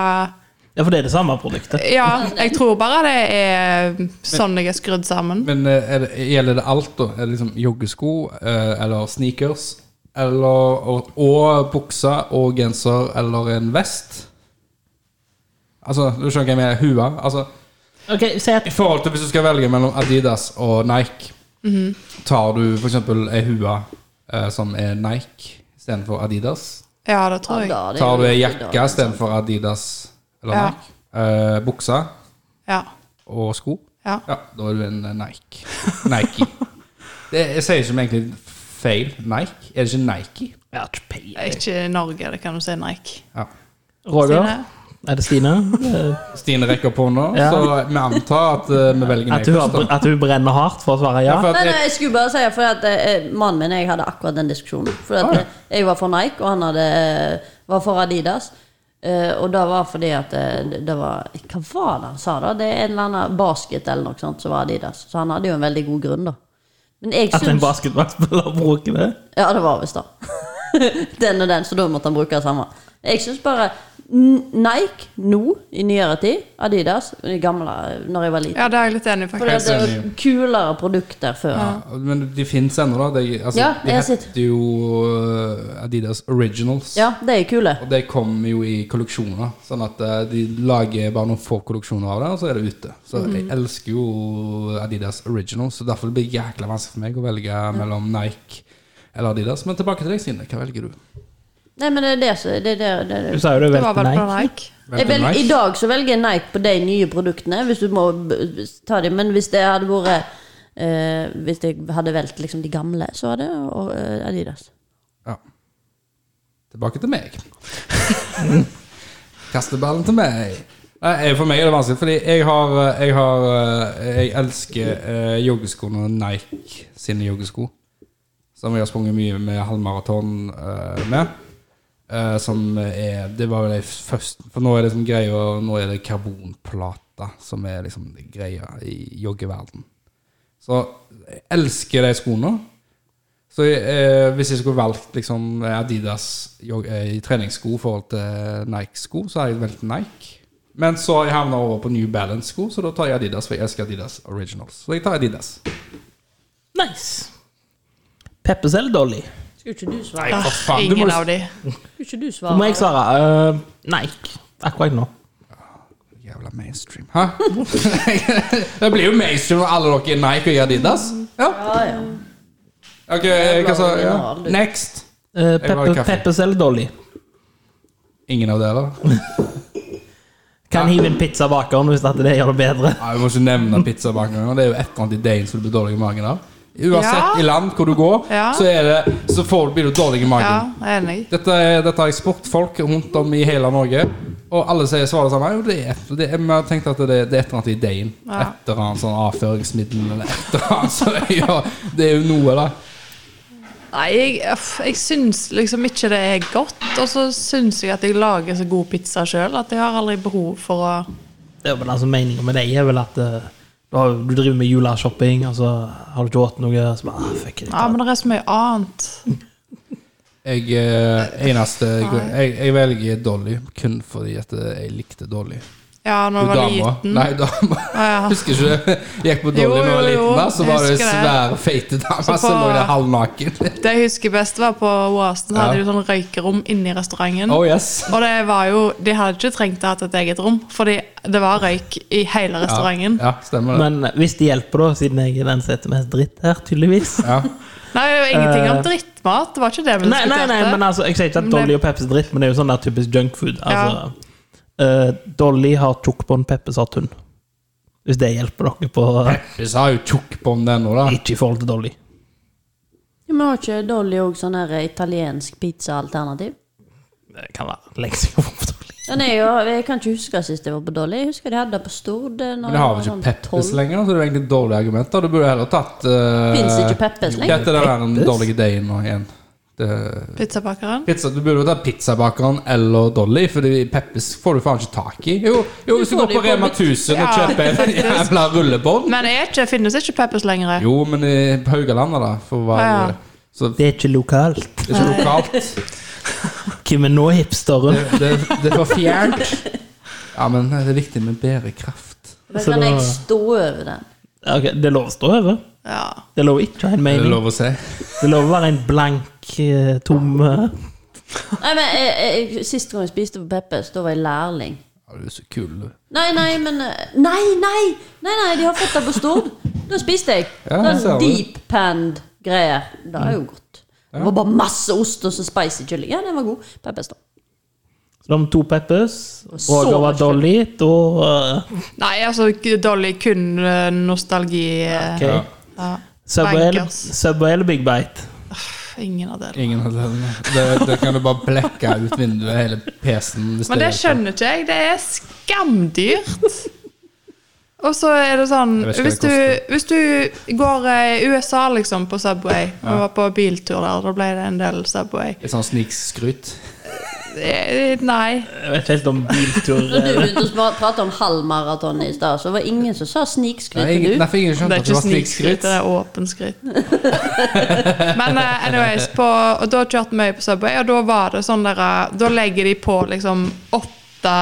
[SPEAKER 3] Ja, For det er det samme produktet.
[SPEAKER 4] Ja, jeg tror bare det er sånn jeg er skrudd sammen.
[SPEAKER 2] Men eh, er det, gjelder det alt, da? Er det liksom joggesko eh, eller sneakers? Eller, og, og bukse og genser eller en vest? Altså, du skjønner hva jeg mener? Hua? Altså,
[SPEAKER 3] Ok, si at
[SPEAKER 2] I forhold til hvis du skal velge mellom Adidas og Nike,
[SPEAKER 4] Mhm.
[SPEAKER 2] tar du for eksempel ei hue eh, som er Nike istedenfor Adidas?
[SPEAKER 4] Ja, det tror jeg.
[SPEAKER 2] Tar du ei jakke istedenfor Adidas eller
[SPEAKER 4] Ja.
[SPEAKER 2] Nike? Eh, bukse
[SPEAKER 4] Ja.
[SPEAKER 2] og sko?
[SPEAKER 4] Ja.
[SPEAKER 2] Ja, da er du en eh, Nike. Nike. Det, jeg sier ikke men egentlig feil. Nike? Er det ikke Nike?
[SPEAKER 3] Jeg har ikke peiling.
[SPEAKER 4] Ikke i Norge, det kan du si Nike.
[SPEAKER 2] Ja.
[SPEAKER 3] Roger?
[SPEAKER 4] Stine?
[SPEAKER 3] Er det Stine? Eh,
[SPEAKER 2] Stine rekker opp hånda,
[SPEAKER 3] Ja.
[SPEAKER 2] så vi antar at eh, vi velger
[SPEAKER 3] At hun,
[SPEAKER 2] Nike.
[SPEAKER 3] har,
[SPEAKER 2] først, da.
[SPEAKER 3] at hun brenner hardt for å svare ja?
[SPEAKER 2] Ja, for at
[SPEAKER 1] Nei,
[SPEAKER 2] jeg-
[SPEAKER 1] nei, eh, jeg skulle bare si fordi at eh, Mannen min og jeg hadde akkurat den diskusjonen. Fordi at
[SPEAKER 2] Ah, ja.
[SPEAKER 1] eh, Jeg var for Nike, og han hadde, eh, var for Adidas. Eh, og det var fordi at eh, det, det var Hva var det han sa, da? Det er en eller annen basket eller noe sånt som var Adidas. Så han hadde jo en veldig god grunn, da. Men jeg
[SPEAKER 3] At en
[SPEAKER 1] syns
[SPEAKER 3] basketballspiller bruker det?
[SPEAKER 1] Ja, det var visst det. den og den, så da måtte han bruke det samme. Jeg syns bare N- Nike nå, i nyere tid, Adidas, i gamle, eh, når jeg var liten.
[SPEAKER 4] Ja, det er jeg litt enig i,
[SPEAKER 1] For
[SPEAKER 4] faktisk.
[SPEAKER 1] det var kulere produkter før.
[SPEAKER 2] Men de fins ennå, da. De, altså,
[SPEAKER 1] Ja,
[SPEAKER 2] de
[SPEAKER 1] jeg
[SPEAKER 2] heter
[SPEAKER 1] sitter.
[SPEAKER 2] jo uh, Adidas Originals.
[SPEAKER 1] Ja, de er kule.
[SPEAKER 2] Og de kommer jo i kolleksjoner. Sånn at uh, de lager bare noen få kolleksjoner av det, og så er det ute. Så jeg elsker jo Adidas Originals, så derfor blir det jækla vanskelig for meg å velge mellom Nike eller Adidas. Men tilbake til deg, Sine. Hva velger du?
[SPEAKER 1] Nei, men det er det som det, er det, det, er
[SPEAKER 3] Du
[SPEAKER 1] det.
[SPEAKER 3] sa jo du
[SPEAKER 4] Det var
[SPEAKER 3] valgte
[SPEAKER 4] vel på
[SPEAKER 3] Nike.
[SPEAKER 4] Nike.
[SPEAKER 1] Jeg
[SPEAKER 2] Velger
[SPEAKER 1] vel,
[SPEAKER 2] Nike?
[SPEAKER 1] I dag så velger jeg Nike på de nye produktene, hvis du må b- b- ta dem. Men hvis det hadde vært eh, Hvis jeg hadde valgt liksom de gamle, så hadde jeg og, eh, Adidas.
[SPEAKER 2] Ja. Tilbake til meg. Kaste ballen til meg. Nei, For meg er det vanskelig, fordi jeg har eh, Jeg, har, jeg elsker eh, joggeskoene Nike sine joggesko. Som jeg har sprunget mye med halvmaraton eh, med. eh, som er Det var jo det første For nå er det liksom greia Nå er det karbonplata som er liksom det greia i joggeverden. Så jeg elsker de skoene. Så eh, hvis jeg skulle valgt liksom Adidas jog, eh, treningssko i forhold til Nike-sko, så hadde jeg valgt Nike. Men så har jeg havna over på New Balance-sko, så da tar jeg Adidas, for jeg elsker Adidas Originals. Så jeg tar Adidas.
[SPEAKER 3] Nice. Peppes eller Dolly?
[SPEAKER 1] Skulle ikke du svare?
[SPEAKER 2] Nei, for faen, du må
[SPEAKER 4] Ingen
[SPEAKER 2] jo
[SPEAKER 4] av de.
[SPEAKER 1] Skulle ikke du
[SPEAKER 3] Så må
[SPEAKER 1] svare?
[SPEAKER 3] jeg svare eh, Nike. Akkurat nå.
[SPEAKER 2] Jævla mainstream. Hæ? det blir jo mainstream når alle dere er Nike og jeg er Adidas. Ja.
[SPEAKER 1] Ja, ja.
[SPEAKER 2] Ok, hva sa ja.
[SPEAKER 1] original, du.
[SPEAKER 2] Next.
[SPEAKER 3] Eh,
[SPEAKER 2] Jeg var i
[SPEAKER 3] Peppe,
[SPEAKER 2] kaffe.
[SPEAKER 3] Peppes eller Dolly?
[SPEAKER 2] Ingen av dere?
[SPEAKER 3] Kan hive inn pizza bakeren hvis at det gjør det bedre.
[SPEAKER 2] Ja, vi må ikke nevne pizzabakeren. Det er jo et eller annet i deigen som du blir dårlig i magen av. Uansett
[SPEAKER 4] Ja.
[SPEAKER 2] i land hvor du går,
[SPEAKER 4] Ja.
[SPEAKER 2] så, er det, så får, blir du dårlig i
[SPEAKER 4] Ja,
[SPEAKER 2] magen.
[SPEAKER 4] jeg er enig.
[SPEAKER 2] Dette, er- dette har jeg spurt folk rundt om i hele Norge, og alle sier svaret samme. Jo, det er et, det er, vi har tenkt at det, det er et eller annet i deigen.
[SPEAKER 4] Ja.
[SPEAKER 2] Et eller annet sånn avføringsmiddel eller et eller annet. Så ja, det er jo noe, da.
[SPEAKER 4] Nei, jeg, uff, jeg syns liksom ikke det er godt. Og så syns jeg at jeg lager så god pizza sjøl at jeg har aldri behov for å
[SPEAKER 3] Det er vel altså Meningen med deg er vel at eh, du, har, du driver med juleshopping, og så har du ikke spist noe. Så bare, ah, fuck it.
[SPEAKER 4] Ja, men det er så mye annet.
[SPEAKER 2] Jeg, eh, eneste, grunn- jeg, jeg velger Dolly kun fordi at eh, jeg likte Dolly.
[SPEAKER 4] Ja, når jeg var liten.
[SPEAKER 2] Nei, dama.
[SPEAKER 4] Ja, ja.
[SPEAKER 2] Husker ikke du gikk på Dolly
[SPEAKER 4] Jo,
[SPEAKER 2] da jeg var
[SPEAKER 4] jo, jo.
[SPEAKER 2] liten? da, Så
[SPEAKER 4] Jeg
[SPEAKER 2] var det
[SPEAKER 4] husker det.
[SPEAKER 2] svære, feite dama
[SPEAKER 4] Så
[SPEAKER 2] som
[SPEAKER 4] på-
[SPEAKER 2] lå der halvnaken.
[SPEAKER 4] Det jeg husker best, var på Oasen. Så
[SPEAKER 2] Ja.
[SPEAKER 4] hadde de sånn røykerom inne i restauranten.
[SPEAKER 2] Oh yes.
[SPEAKER 4] Og det var jo, de hadde ikke trengt å ha et eget rom, fordi det var røyk i hele restauranten.
[SPEAKER 2] Ja, stemmer det.
[SPEAKER 3] Men hvis det hjelper, da, siden jeg er den som heter mest dritt her, tydeligvis.
[SPEAKER 2] Ja.
[SPEAKER 4] Nei, det var ingenting
[SPEAKER 2] Eh.
[SPEAKER 4] om drittmat. Det var ikke det vi
[SPEAKER 3] Nei, nei, nei, men altså, jeg sier ikke at Dolly og Peppes er dritt, men det er jo sånn der typisk junkfood. Altså, eh, Dolly har tjukkbånd, Peppes har tunn. Hvis det hjelper dere på
[SPEAKER 2] Vi sa jo tjukkbånd ennå, da.
[SPEAKER 3] Ikke i forhold til Dolly.
[SPEAKER 1] Ja, Men har ikke Dolly òg sånn her italiensk pizzaalternativ?
[SPEAKER 3] Det kan være lenge siden jeg var på Dolly.
[SPEAKER 1] Den er jo, jeg kan ikke huske sist jeg var på Dolly. Jeg husker de hadde det på Stord. eh, når
[SPEAKER 2] Men det
[SPEAKER 1] jeg
[SPEAKER 2] har
[SPEAKER 1] var
[SPEAKER 2] vel ikke
[SPEAKER 1] sånn
[SPEAKER 2] Peppes
[SPEAKER 1] 12.
[SPEAKER 2] lenger, så det er jo egentlig dårlige argumenter. Du burde heller tatt uh,
[SPEAKER 1] Finnes ikke Peppes lenger?
[SPEAKER 2] Dette er den
[SPEAKER 3] Peppes?
[SPEAKER 2] dårlige deigen nå igjen. Det
[SPEAKER 4] Pizzabakeren.
[SPEAKER 2] Pizza, du burde jo ta pizzabakeren eller Dolly, Fordi Peppes får du faen ikke tak i. Jo, jo hvis du
[SPEAKER 1] får
[SPEAKER 2] går
[SPEAKER 1] de
[SPEAKER 2] på
[SPEAKER 1] på
[SPEAKER 2] Rema
[SPEAKER 1] butikk.
[SPEAKER 2] 1000 og
[SPEAKER 4] Ja,
[SPEAKER 2] kjøper en jævla rullebånd
[SPEAKER 4] Men er ikke, finnes ikke Peppers lenger.
[SPEAKER 2] Jo, men i på Haugalandet, da, for å være
[SPEAKER 4] Ja, ja.
[SPEAKER 2] Så det
[SPEAKER 3] Det er ikke lokalt.
[SPEAKER 2] er ikke lokalt.
[SPEAKER 3] Hvem er nå hipsteren?
[SPEAKER 2] Det, det, det er for fjernt. Ja, men det er viktig med bærekraft.
[SPEAKER 1] Men
[SPEAKER 3] Så
[SPEAKER 1] kan
[SPEAKER 3] da-
[SPEAKER 1] jeg stå over den?
[SPEAKER 3] Ok, det er lov å stå over.
[SPEAKER 4] Ja.
[SPEAKER 3] Det er lov å ikke ha en
[SPEAKER 2] Er det
[SPEAKER 3] mening.
[SPEAKER 2] lov å si?
[SPEAKER 3] Det er lov å være en blank, eh, tom eh,
[SPEAKER 1] Nei, men jeg, jeg, Sist gang jeg spiste på Peppes, da var jeg lærling.
[SPEAKER 2] Ja, du er så kul, du.
[SPEAKER 1] Nei, nei, men eh, Nei, nei! Nei, nei, De har fått det på Stord. Da spiste jeg.
[SPEAKER 2] Ja, jeg ser
[SPEAKER 1] Sånn
[SPEAKER 2] det. Mm.
[SPEAKER 1] deep panned greie. Det er jo godt. Det var bare masse ost og så spicy kylling. Ja, den var god. Peppes, da.
[SPEAKER 3] Så de to Peppers.
[SPEAKER 1] Og så
[SPEAKER 3] Roger var
[SPEAKER 1] forskjellig.
[SPEAKER 3] Dolly. Da eh,
[SPEAKER 4] Nei, altså k- Dolly kun eh, nostalgi. eh,
[SPEAKER 3] ok.
[SPEAKER 2] Ja.
[SPEAKER 4] Ja.
[SPEAKER 3] Subway eller-
[SPEAKER 4] Bankers.
[SPEAKER 3] Subway eller Big Bite?
[SPEAKER 4] Ingen av delene.
[SPEAKER 2] Ingen av delene. Det, det kan du bare blekke ut vinduet, hele PC-en. hvis
[SPEAKER 4] Men det
[SPEAKER 2] er-
[SPEAKER 4] skjønner ikke jeg. Det er skamdyrt. Og så er det sånn
[SPEAKER 2] Jeg vet ikke hva
[SPEAKER 4] Hvis
[SPEAKER 2] det
[SPEAKER 4] du, hvis du går eh, i USA, liksom, på Subway Vi var på biltur der, da ble det en del Subway.
[SPEAKER 2] Et sånt snikskryt.
[SPEAKER 4] Eh, Nei.
[SPEAKER 3] Jeg vet ikke helt om biltur
[SPEAKER 1] Når du
[SPEAKER 3] eh,
[SPEAKER 1] begynte å sma- prate om halvmaraton i stad, så var det ingen som sa
[SPEAKER 2] Nei,
[SPEAKER 1] snikskryt.
[SPEAKER 2] ingen,
[SPEAKER 1] til du.
[SPEAKER 2] nei, for ingen
[SPEAKER 4] Det
[SPEAKER 2] skjønte
[SPEAKER 4] er
[SPEAKER 2] at det
[SPEAKER 4] ikke
[SPEAKER 2] var
[SPEAKER 4] snikskritt,
[SPEAKER 2] snikskryt.
[SPEAKER 4] det er åpenskritt. Men eh, anyways, på, og da kjørte vi på Subway, og da var det sånn der eh, Da legger de på liksom åtte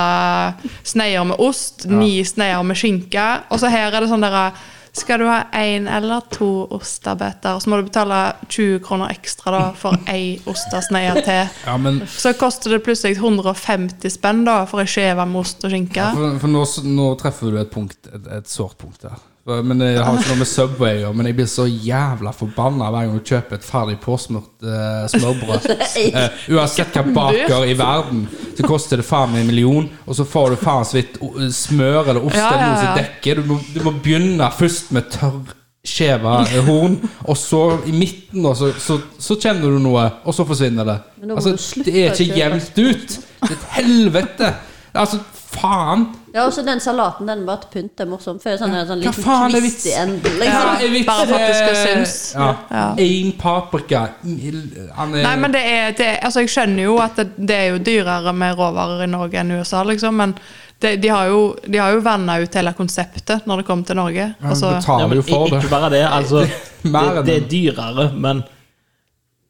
[SPEAKER 4] sneier med ost, ni sneier med skinke, og så her er det sånn der eh, skal du ha én eller to ostebiter, så må du betale 20 kroner ekstra da for ei ostesneie til.
[SPEAKER 2] Ja, men
[SPEAKER 4] Så koster det plutselig 150 spenn da for ei skive med ost og skinke.
[SPEAKER 2] For, for nå, nå treffer du et punkt Et, et sårt punkt der. For, men Jeg har ikke noe med Subway å gjøre, men jeg blir så jævla forbanna hver gang du kjøper et ferdig påsmurt eh, smørbrød. Eh, uansett hva baker i verden, så koster det faen meg en million, og så får du faen så vidt o- smør eller ost
[SPEAKER 4] Ja,
[SPEAKER 2] eller noe
[SPEAKER 4] ja, ja.
[SPEAKER 2] som dekker. Du må, du må begynne først med tørr skjeva eh, horn, og så i midten, og så, så, så kjenner du noe, og så forsvinner det.
[SPEAKER 1] Men da må du
[SPEAKER 2] Altså,
[SPEAKER 1] slutte
[SPEAKER 2] det
[SPEAKER 1] å
[SPEAKER 2] er ikke
[SPEAKER 1] kjøpe.
[SPEAKER 2] jevnt ut. Det er et helvete. Altså, faen?
[SPEAKER 1] Ja, og så den salaten den var til pynt. Det er morsomt. For det er sånn, en sånn
[SPEAKER 2] Hva
[SPEAKER 1] liten
[SPEAKER 2] faen er
[SPEAKER 1] kvist i
[SPEAKER 2] vits?
[SPEAKER 1] enden.
[SPEAKER 4] Ja,
[SPEAKER 1] Liksom.
[SPEAKER 2] Hva er vitsen?
[SPEAKER 4] sånn bare for at det skal synes.
[SPEAKER 2] Ja.
[SPEAKER 4] Ja.
[SPEAKER 2] Én paprika Han er
[SPEAKER 4] Nei, men det er, det, altså Jeg skjønner jo at det, det er jo dyrere med råvarer i Norge enn i USA, liksom, men det, de har jo, de har jo vanna ut hele konseptet når det kom til Norge.
[SPEAKER 2] Han
[SPEAKER 4] Altså,
[SPEAKER 3] Ja,
[SPEAKER 2] betaler
[SPEAKER 3] men
[SPEAKER 2] jo for
[SPEAKER 3] ikke
[SPEAKER 2] det.
[SPEAKER 3] bare det. Altså,
[SPEAKER 2] Mer
[SPEAKER 3] det,
[SPEAKER 2] enn
[SPEAKER 3] det er dyrere, men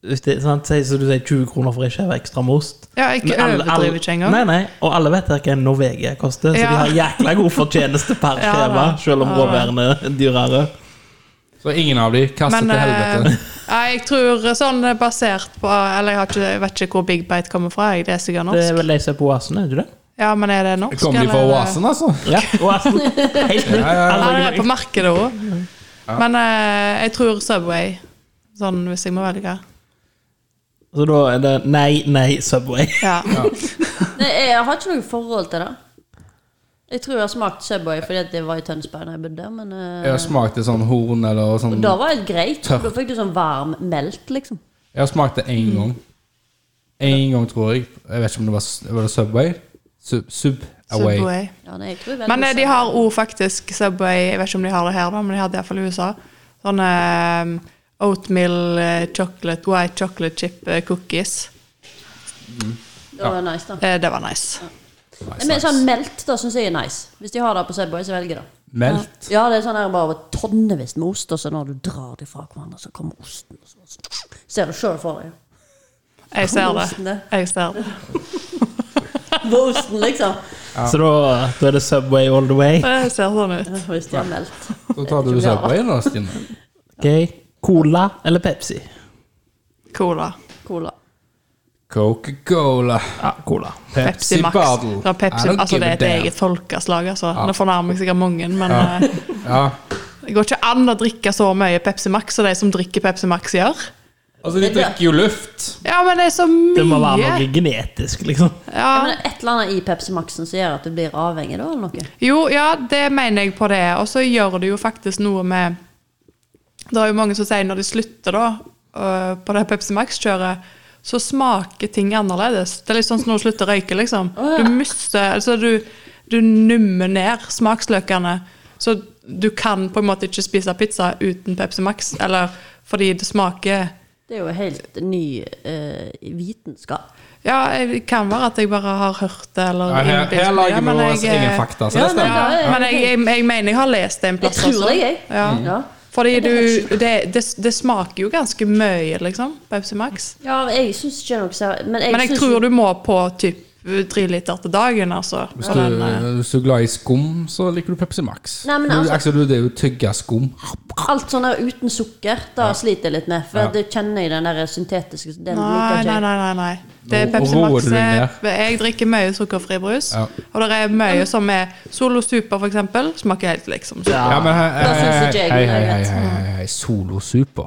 [SPEAKER 3] hvis det, sant, si som du sier 20 kroner for ei skjeve ekstra med ost.
[SPEAKER 4] ja, jeg
[SPEAKER 3] Men alle- alle-
[SPEAKER 4] overdriver ikke engang.
[SPEAKER 3] Nei, nei, og alle vet hva en Norvegia koster, så
[SPEAKER 4] Ja.
[SPEAKER 3] de har jækla god fortjeneste per
[SPEAKER 4] Ja,
[SPEAKER 3] skjeve,
[SPEAKER 4] da.
[SPEAKER 3] selv om
[SPEAKER 4] Ja, da.
[SPEAKER 3] råværene er dyrere.
[SPEAKER 2] Så ingen av de kastet
[SPEAKER 4] Men
[SPEAKER 2] til helvete.
[SPEAKER 4] eh, nei, jeg tror sånn basert på Eller jeg, har ikke, jeg vet ikke hvor Big Bite kommer fra. Jeg, det er sikkert
[SPEAKER 3] Det er
[SPEAKER 4] norsk.
[SPEAKER 3] vel de som er på Oasen, er det ikke det?
[SPEAKER 4] Ja, men er det norsk?
[SPEAKER 2] Kom de fra
[SPEAKER 4] eller?
[SPEAKER 2] oasen, altså?
[SPEAKER 3] Ja, Oasen. Helt nytt.
[SPEAKER 2] ja, ja.
[SPEAKER 4] Ja, det er
[SPEAKER 3] Aldri-
[SPEAKER 4] på markedet òg. Men eh, jeg tror Subway, sånn hvis jeg må velge.
[SPEAKER 3] Så da er det nei, nei, Subway.
[SPEAKER 4] Ja.
[SPEAKER 1] Nei, jeg har ikke noe forhold til det. Jeg tror jeg har smakt Subway fordi at det var i Tønsberg da jeg bodde der, men eh,
[SPEAKER 2] Jeg smakte sånn horn eller sånn
[SPEAKER 1] da var det greit.
[SPEAKER 2] Tørr.
[SPEAKER 1] Da fikk du sånn varm melt, liksom.
[SPEAKER 2] Jeg smakte én
[SPEAKER 1] Mm.
[SPEAKER 2] gang. Én gang, tror jeg. Jeg vet ikke om det var, var det Subway. Sub, sub away.
[SPEAKER 4] Subway.
[SPEAKER 1] Ja, nei, jeg tror veldig sånn-
[SPEAKER 4] Men eh, de
[SPEAKER 1] Subway.
[SPEAKER 4] har òg faktisk Subway Jeg vet ikke om de har det her, da, men de har det iallfall i USA. Sånne eh, oatmeal eh, chocolate, white chocolate chip eh, cookies.
[SPEAKER 1] Det var nice, da.
[SPEAKER 4] Eh, Det var nice.
[SPEAKER 1] Nei, Men sånn melt, da syns jeg er nice. Hvis de har det på Subway, så velger jeg det.
[SPEAKER 2] Melt.
[SPEAKER 1] Ja, det er sånn her bare tonnevis med ost, og så når du drar det fra hverandre, så kommer osten. Og så, ser du sjøl for deg
[SPEAKER 4] Jeg ser
[SPEAKER 1] Osten,
[SPEAKER 4] det.
[SPEAKER 1] det.
[SPEAKER 4] Jeg ser det.
[SPEAKER 1] hvor osten, liksom.
[SPEAKER 3] Så da, da er det Subway all the way.
[SPEAKER 4] Det ser sånn ut.
[SPEAKER 1] Hvis de har melt.
[SPEAKER 2] Da tar du Subway, da, Stine.
[SPEAKER 3] Ok, Cola eller Pepsi?
[SPEAKER 4] Cola.
[SPEAKER 1] Cola.
[SPEAKER 2] Coca-Cola.
[SPEAKER 3] Ja, Cola.
[SPEAKER 4] Pepsi Max.
[SPEAKER 2] Bottle.
[SPEAKER 4] Ja, Pepsi,
[SPEAKER 2] I don't
[SPEAKER 4] altså,
[SPEAKER 2] give a
[SPEAKER 4] det er et
[SPEAKER 2] damn.
[SPEAKER 4] eget folkeslag, altså. Det fornærmer sikkert mange, men eh,
[SPEAKER 2] Ja.
[SPEAKER 4] det går ikke an å drikke så mye Pepsi Max som de som drikker Pepsi Max, gjør.
[SPEAKER 2] Altså, de drikker jo luft.
[SPEAKER 4] Ja, men det er så mye!
[SPEAKER 3] Det må være noe genetisk, liksom.
[SPEAKER 1] Ja,
[SPEAKER 4] Ja.
[SPEAKER 1] men det er et eller annet i Pepsi Maxen som gjør at du blir avhengig, da, eller noe?
[SPEAKER 4] Jo, ja, det mener jeg på det. Og så gjør det jo faktisk noe med Det er jo mange som sier når de slutter da, øh, på det Pepsi Max-kjøret, så smaker ting annerledes. Det er litt sånn som når du slutter å røyke, liksom. Du mister Altså, du, du nummer ned smaksløkene. Så du kan på en måte ikke spise pizza uten Pepsi Max, eller fordi det smaker
[SPEAKER 1] Det er jo helt ny eh, vitenskap.
[SPEAKER 4] Ja, det kan være at jeg bare har hørt det, eller
[SPEAKER 2] Ja, her,
[SPEAKER 4] innbilt
[SPEAKER 2] her
[SPEAKER 4] meg det,
[SPEAKER 2] lager
[SPEAKER 4] men
[SPEAKER 2] vi oss
[SPEAKER 4] jeg, eh,
[SPEAKER 2] egen fakta, så
[SPEAKER 1] Ja,
[SPEAKER 2] det
[SPEAKER 1] nei,
[SPEAKER 2] stemmer.
[SPEAKER 1] ja, ja.
[SPEAKER 4] Men jeg, jeg, jeg mener jeg har lest det en
[SPEAKER 1] Jeg
[SPEAKER 4] plass.
[SPEAKER 1] tror det,
[SPEAKER 4] også.
[SPEAKER 1] jeg.
[SPEAKER 4] Ja.
[SPEAKER 2] Mm.
[SPEAKER 1] Ja.
[SPEAKER 4] Fordi du, det, det, det smaker jo ganske mye, liksom, Pepsi Max.
[SPEAKER 1] ja, jeg syns ikke det er noe særlig Men jeg,
[SPEAKER 4] Men jeg
[SPEAKER 1] synes-
[SPEAKER 4] tror du må på typ tre liter til dagen, altså.
[SPEAKER 2] Hvis
[SPEAKER 4] på
[SPEAKER 2] du,
[SPEAKER 4] den, eh,
[SPEAKER 2] hvis du er glad i skum, så liker du Pepsi Max.
[SPEAKER 1] Nei, men
[SPEAKER 2] Du-
[SPEAKER 1] altså-
[SPEAKER 2] altså, du, det er jo tygge skum.
[SPEAKER 1] Alt sånn der uten sukker, da sliter jeg litt med. For det kjenner jeg den der syntetiske Den liker
[SPEAKER 4] Nei,
[SPEAKER 1] ikke
[SPEAKER 4] nei,
[SPEAKER 1] jeg.
[SPEAKER 4] nei. nei, nei. Det er
[SPEAKER 2] Nå
[SPEAKER 4] Pepsi
[SPEAKER 2] roer
[SPEAKER 4] Max.
[SPEAKER 2] du deg
[SPEAKER 4] eh,
[SPEAKER 2] ned.
[SPEAKER 4] Jeg drikker mye sukkerfri brus.
[SPEAKER 2] Ja.
[SPEAKER 4] Og det er mye som er Solo Super, for eksempel. Smaker helt liksom sukker.
[SPEAKER 2] Ja, men hei,
[SPEAKER 1] Da synes
[SPEAKER 2] hei,
[SPEAKER 1] ikke jeg
[SPEAKER 2] hei,
[SPEAKER 1] det er
[SPEAKER 2] hei, hei,
[SPEAKER 1] greit.
[SPEAKER 2] hei, hei, hei. Solo Super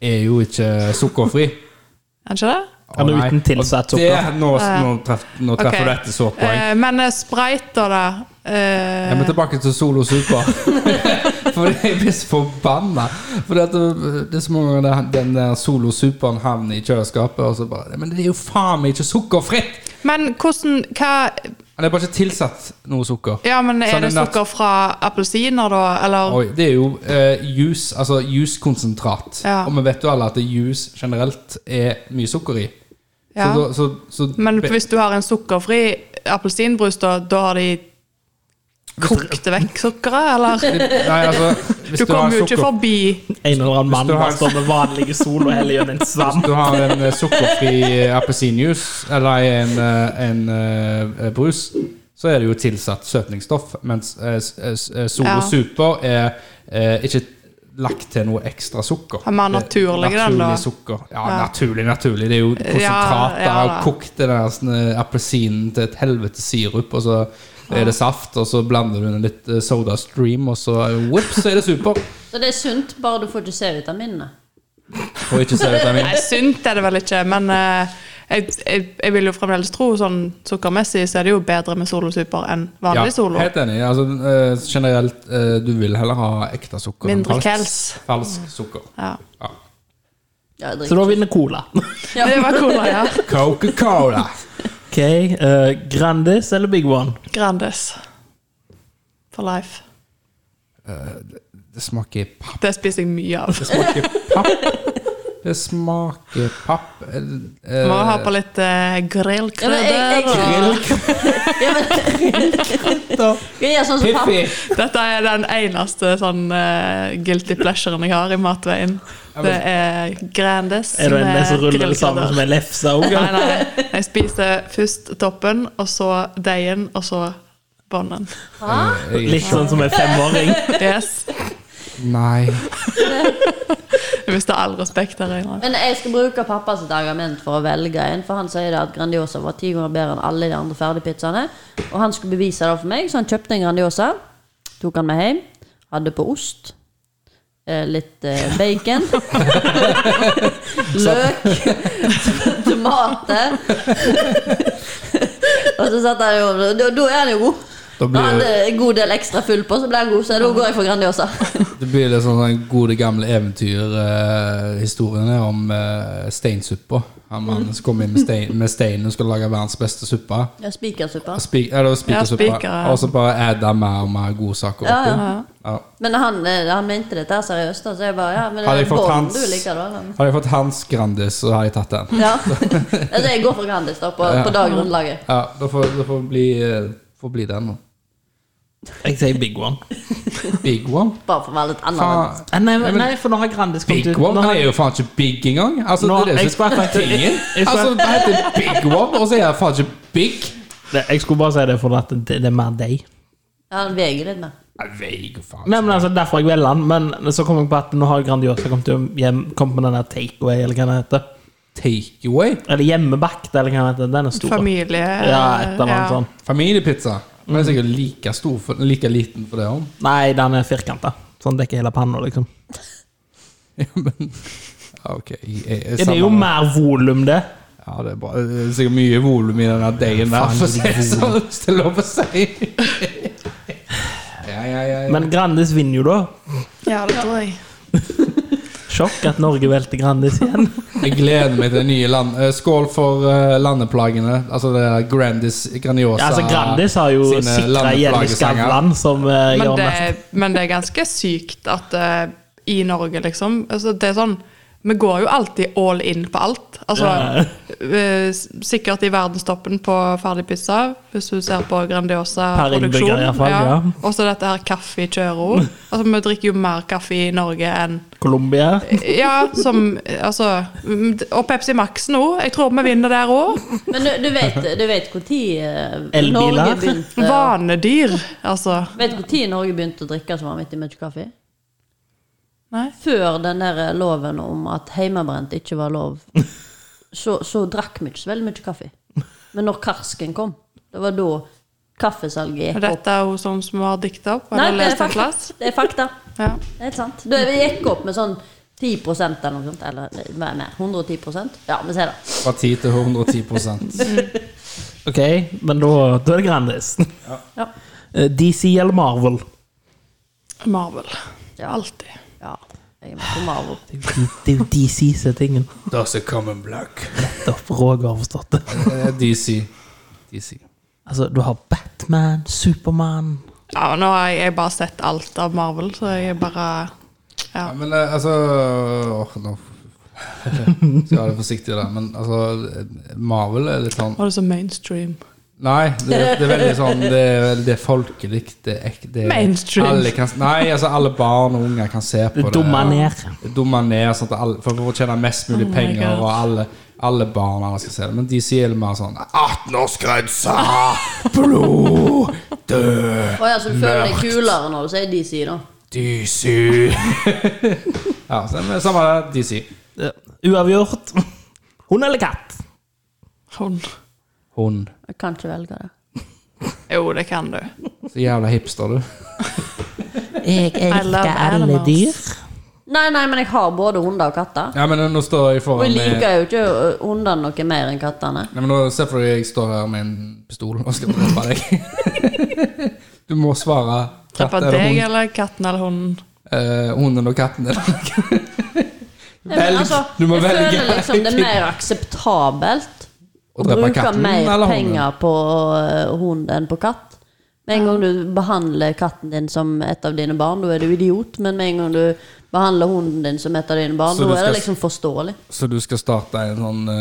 [SPEAKER 2] er jo ikke sukkerfri.
[SPEAKER 4] Er det ikke det?
[SPEAKER 2] Å,
[SPEAKER 3] Eller
[SPEAKER 2] nei.
[SPEAKER 3] uten tilsatt
[SPEAKER 2] Og det-
[SPEAKER 3] sukker.
[SPEAKER 2] Nå, nå, treff, nå
[SPEAKER 4] Ok.
[SPEAKER 2] treffer du et sårt poeng.
[SPEAKER 4] Eh, Men eh, Sprite, da, da. eh,
[SPEAKER 2] Ja, men tilbake til Solo Super. For jeg blir så forbanna. For det, det er så mange ganger det- den der Solo Superen havner i kjøleskapet, og så bare Men det er jo faen meg ikke sukkerfritt!
[SPEAKER 4] men hvordan Hva
[SPEAKER 2] Han er bare ikke tilsatt noe sukker.
[SPEAKER 4] Ja, men
[SPEAKER 2] Så
[SPEAKER 4] er det
[SPEAKER 2] den er-
[SPEAKER 4] sukker fra appelsiner, da? Eller
[SPEAKER 2] Oi, det er jo eh, juice, altså juicekonsentrat.
[SPEAKER 4] Ja.
[SPEAKER 2] Og vi vet jo alle at juice generelt er mye sukker i. Så,
[SPEAKER 4] ja.
[SPEAKER 2] da- så, så,
[SPEAKER 4] Men hvis du har en sukkerfri appelsinbrus, da, da har de kokt vekk sukkeret, eller?
[SPEAKER 2] Nei, altså hvis har
[SPEAKER 4] Du kommer jo ikke
[SPEAKER 2] sukker-
[SPEAKER 4] forbi
[SPEAKER 3] En eller annen mann
[SPEAKER 2] du har-
[SPEAKER 3] bare står med vanlige sol og heller gjennom en svamp.
[SPEAKER 2] du har en eh, sukkerfri eh, appelsinjuice eller en, eh, en eh, brus, så er det jo tilsatt søtningsstoff, mens eh, s- eh, s- eh, Solo
[SPEAKER 4] Ja.
[SPEAKER 2] Super er eh, ikke lagt til noe ekstra sukker.
[SPEAKER 4] Ja, mer naturlig, den, da.
[SPEAKER 2] Naturlig sukker. Ja, naturlig, naturlig. Det er jo konsentrat
[SPEAKER 4] ja,
[SPEAKER 2] der, og
[SPEAKER 4] da.
[SPEAKER 2] kokt den der sånn, eh, appelsinen til et helvete sirup, og så er det saft, og så blander du den litt eh, Soda Stream, og så eh, whoops, så er det super.
[SPEAKER 1] Så det er sunt, bare du får ikke C-vitaminene.
[SPEAKER 2] Og ikke C-vitamin.
[SPEAKER 4] Nei, sunt er det vel ikke, men eh, jeg, jeg, jeg vil jo fremdeles tro sånn sukkermessig så er det jo bedre med Solo Super enn vanlig Solo.
[SPEAKER 2] Helt enig. Altså, eh, generelt, eh, du vil heller ha ekte sukker. enn
[SPEAKER 4] Mindre
[SPEAKER 2] falsk-
[SPEAKER 4] kels.
[SPEAKER 2] Falsk sukker.
[SPEAKER 4] Ja.
[SPEAKER 2] Ja.
[SPEAKER 1] Ja, jeg
[SPEAKER 3] Så
[SPEAKER 1] drikker
[SPEAKER 3] da vinner Cola.
[SPEAKER 4] Det var cola, ja.
[SPEAKER 2] Coca-Cola.
[SPEAKER 3] OK. eh, Grandis eller Big One?
[SPEAKER 4] Grandis. For life.
[SPEAKER 2] Det smaker papp.
[SPEAKER 4] Det spiser jeg mye av.
[SPEAKER 2] Det smaker papp. Det smaker papp. Eh,
[SPEAKER 4] Må ha på litt uh,
[SPEAKER 1] Ja, men jeg-
[SPEAKER 4] grillkrydder.
[SPEAKER 1] jeg-
[SPEAKER 4] og-
[SPEAKER 1] Ja, men, skal jeg gjøre sånn som pappa?
[SPEAKER 2] Piffi.
[SPEAKER 4] Dette er den eneste sånn eh, guilty pleasuren jeg har i matveien. Det er Grandis
[SPEAKER 3] Er du en
[SPEAKER 4] med
[SPEAKER 3] som ruller det sammen
[SPEAKER 4] grillkrydder.
[SPEAKER 3] som en lefse òg?
[SPEAKER 4] Nei, nei. Jeg spiser først toppen, og så deigen, og så bånden.
[SPEAKER 2] eh, Jeg,
[SPEAKER 3] Litt sånn som en femåring.
[SPEAKER 4] Yes.
[SPEAKER 2] nei.
[SPEAKER 4] Jeg mister all respekt her inne.
[SPEAKER 1] Men jeg skal bruke pappas argument for å velge en, for han sier det at Grandiosa var ti ganger bedre enn alle de andre ferdigpizzaene. Og han skulle bevise det for meg, så han kjøpte en Grandiosa. Tok han med hjem. Hadde på ost. eh, Litt eh, bacon. Løk. Tomater. og så satt han jo Da da er han jo god.
[SPEAKER 2] Da
[SPEAKER 1] Når han
[SPEAKER 2] blir
[SPEAKER 1] hadde en god del ekstra full på, så ble han god, så da går jeg for Grandiosa.
[SPEAKER 2] det blir litt sånn den gode gamle eventyrhistoriene om eh, steinsuppa. Han mannen som kom inn med stein, med stein og skulle lage verdens beste suppe.
[SPEAKER 1] Ja, Spikersuppa.
[SPEAKER 2] Spik, eller spikersuppa.
[SPEAKER 4] Ja, spiker.
[SPEAKER 2] og så bare adda mer og mer godsaker
[SPEAKER 1] Ja,
[SPEAKER 2] oppi.
[SPEAKER 1] ja.
[SPEAKER 2] Ja.
[SPEAKER 1] Men han, eh, han mente dette her seriøst, da, så jeg bare Ja, men det
[SPEAKER 2] Hadde jeg
[SPEAKER 1] er
[SPEAKER 2] fått
[SPEAKER 1] Bond
[SPEAKER 2] hans-
[SPEAKER 1] Eh, du liker, da. eller?
[SPEAKER 2] Hadde jeg fått hans Grandis, så hadde jeg tatt den.
[SPEAKER 1] Ja. altså, jeg går for Grandis, da, på,
[SPEAKER 2] Ja.
[SPEAKER 1] på det grunnlaget.
[SPEAKER 2] Ja, Da får da får bli, eh, får bli den, da.
[SPEAKER 3] Jeg sier Big One.
[SPEAKER 2] Big one.
[SPEAKER 1] Bare for å være litt annerledes.
[SPEAKER 2] Faen.
[SPEAKER 3] Eh, Nei, nei for nå har Grandis kommet
[SPEAKER 2] Big
[SPEAKER 3] ut.
[SPEAKER 2] One?
[SPEAKER 3] Nå
[SPEAKER 2] Han
[SPEAKER 3] har,
[SPEAKER 2] er jo faen ikke big engang. Altså,
[SPEAKER 3] nå,
[SPEAKER 2] det er
[SPEAKER 3] jeg,
[SPEAKER 2] det som
[SPEAKER 3] skulle akkurat- jeg,
[SPEAKER 2] Ingen?
[SPEAKER 3] jeg skulle-
[SPEAKER 2] Altså, det heter Big One, og så er jeg faen ikke big.
[SPEAKER 3] Nei, jeg skulle bare si det for at det, det er mer deg.
[SPEAKER 1] Ja, han veier litt mer.
[SPEAKER 2] Jeg veier jo faen
[SPEAKER 3] Nei, men altså, Derfor jeg velger den. Men så kom jeg på at nå har Grandiosa kommet hjem- hjem kommet med den der takeaway, eller hva den heter.
[SPEAKER 2] Takeaway?
[SPEAKER 3] Eller hjemmebakt, eller hva den heter. Den er stor.
[SPEAKER 4] Familie
[SPEAKER 3] Ja, et eller annet
[SPEAKER 4] Eh, ja.
[SPEAKER 3] sånn.
[SPEAKER 2] Familiepizza. Den er sikkert like stor for, like liten for det òg.
[SPEAKER 3] Nei, den er firkanta. Sånn dekker hele panna, liksom.
[SPEAKER 2] Ok. Jeg, jeg,
[SPEAKER 3] Ja, det er jo
[SPEAKER 2] samme-
[SPEAKER 3] mer volum, det.
[SPEAKER 2] Ja, det er, bra. det er sikkert mye volum i den der deigen der,
[SPEAKER 3] Faen,
[SPEAKER 2] for å si
[SPEAKER 3] det
[SPEAKER 2] det sånn. Hvis det er lov å si. Ja, ja, ja. ja.
[SPEAKER 3] Men Grandis vinner jo, da.
[SPEAKER 4] Ja, det tror jeg.
[SPEAKER 3] Sjokk at Norge velter Grandis igjen.
[SPEAKER 2] Jeg gleder meg til det nye land. eh, Skål for eh, landeplagene. Altså det er Grandis Grandiosa
[SPEAKER 3] Ja, altså, Grandis har jo
[SPEAKER 2] sine
[SPEAKER 3] sikra Jenny
[SPEAKER 2] landeplagesanger.
[SPEAKER 3] Skavlan som eh,
[SPEAKER 4] Men
[SPEAKER 3] gjør
[SPEAKER 4] det,
[SPEAKER 3] mest.
[SPEAKER 4] men det er ganske sykt at eh, i Norge, liksom altså, Det er sånn Vi går jo alltid all in på alt. Altså, eh, s- sikkert i verdenstoppen på ferdig pizza, hvis du ser på Grandiosa
[SPEAKER 3] Per innbygger
[SPEAKER 4] produksjon.
[SPEAKER 3] i hvert fall, ja.
[SPEAKER 4] Og så dette her kaffe i Kjøro. Altså, vi drikker jo mer kaffe i Norge enn
[SPEAKER 3] Colombia.
[SPEAKER 4] Ja, som Altså mm, Og Pepsi Max nå. Jeg tror vi vinner der òg.
[SPEAKER 1] Men du, du vet du vet når eh,
[SPEAKER 3] Elbiler.
[SPEAKER 1] Norge begynte
[SPEAKER 4] Vanedyr, altså.
[SPEAKER 1] Vet du når Norge begynte å drikke så vanvittig mye kaffe?
[SPEAKER 4] Nei.
[SPEAKER 1] Før den der eh, loven om at hjemmebrent ikke var lov, så, så drakk vi ikke så veldig mye kaffe. Men når karsken kom, det var da kaffesalget
[SPEAKER 4] Er
[SPEAKER 1] gikk opp.
[SPEAKER 4] dette jo sånn som vi har dikta opp?
[SPEAKER 1] Nei, det
[SPEAKER 4] Eller
[SPEAKER 1] er
[SPEAKER 4] lest en
[SPEAKER 1] fakta.
[SPEAKER 4] plass?
[SPEAKER 1] Det er fakta.
[SPEAKER 4] Ja.
[SPEAKER 1] Det er helt sant. Du, vi gikk opp med sånn 10 eller noe sånt. Eller eh, hva er mer? 110 Ja, vi ser det.
[SPEAKER 2] Fra 10 til 110
[SPEAKER 3] Ok, men da, da er det Grandis.
[SPEAKER 1] Ja.
[SPEAKER 3] Eh, DC eller Marvel?
[SPEAKER 4] Marvel.
[SPEAKER 1] Ja.
[SPEAKER 4] Alltid.
[SPEAKER 1] ja. Jeg må komme av og-
[SPEAKER 3] Det er jo DC som er tingen.
[SPEAKER 2] Does it come in black?
[SPEAKER 3] Nettopp Roger har forstått det.
[SPEAKER 2] Eh, DC. DC.
[SPEAKER 3] Altså, du har Batman, Supermann
[SPEAKER 4] Ja, og nå har jeg, jeg bare sett alt av Marvel, så jeg er bare ja.
[SPEAKER 2] Ja, men eh, altså Åh, nå skal jeg være forsiktig der, men altså Marvel er litt sånn
[SPEAKER 4] Var det så mainstream?
[SPEAKER 2] Nei, det, det er veldig sånn Det er, veldig- det er folkelig. Det er ek- det er-
[SPEAKER 4] Mainstream.
[SPEAKER 2] Alle kan, nei, altså alle barn og unger kan se på
[SPEAKER 3] Du
[SPEAKER 2] det.
[SPEAKER 3] dummer ned.
[SPEAKER 2] Dummer ned sånn at alle, for, for å tjene mest mulig
[SPEAKER 4] Oh my
[SPEAKER 2] penger,
[SPEAKER 4] God.
[SPEAKER 2] og alle, alle barn alle skal se det. Men de sier litt mer sånn 18-årsgrensa! Blod! Død!
[SPEAKER 1] Å ja, så du føler deg kulere når du sier DC, da?
[SPEAKER 2] DC! ja, så det er samme det, DC.
[SPEAKER 3] Ja. Uavgjort. Hund eller katt?
[SPEAKER 4] Hun.
[SPEAKER 2] Hun.
[SPEAKER 1] Jeg kan ikke velge det.
[SPEAKER 4] Jo, det kan du.
[SPEAKER 2] Så jævla hipster, du.
[SPEAKER 5] Jeg
[SPEAKER 4] love
[SPEAKER 5] elsker alle
[SPEAKER 4] animals.
[SPEAKER 5] dyr.
[SPEAKER 1] Nei, nei, men jeg har både hunder og katter.
[SPEAKER 2] Ja, men nå står jeg
[SPEAKER 1] Og
[SPEAKER 2] foran
[SPEAKER 1] jeg
[SPEAKER 2] med
[SPEAKER 1] liker jo ikke ø, hundene noe mer enn kattene.
[SPEAKER 2] Nei, men nå Se for deg jeg står her med en pistol og skal drepe deg. Du må svare katt
[SPEAKER 4] Treffer
[SPEAKER 2] eller
[SPEAKER 4] deg
[SPEAKER 2] hund.
[SPEAKER 4] eller katten eller hunden?
[SPEAKER 2] Eh, hunden og katten.
[SPEAKER 1] Nei, men
[SPEAKER 2] Velg. Du må
[SPEAKER 1] jeg
[SPEAKER 2] velge.
[SPEAKER 1] liksom føler liksom det er mer akseptabelt
[SPEAKER 2] Å drepe
[SPEAKER 1] bruke
[SPEAKER 2] katten
[SPEAKER 1] mer
[SPEAKER 2] eller hunden?
[SPEAKER 1] penger på eh, hund enn på katt. Med en gang du behandler katten din som et av dine barn, da er du idiot. Men med en gang du behandler hunden din som et av dine barn,
[SPEAKER 2] Så
[SPEAKER 1] da
[SPEAKER 2] du
[SPEAKER 1] er
[SPEAKER 2] skal-
[SPEAKER 1] det liksom forståelig.
[SPEAKER 2] Så du skal starte en sånn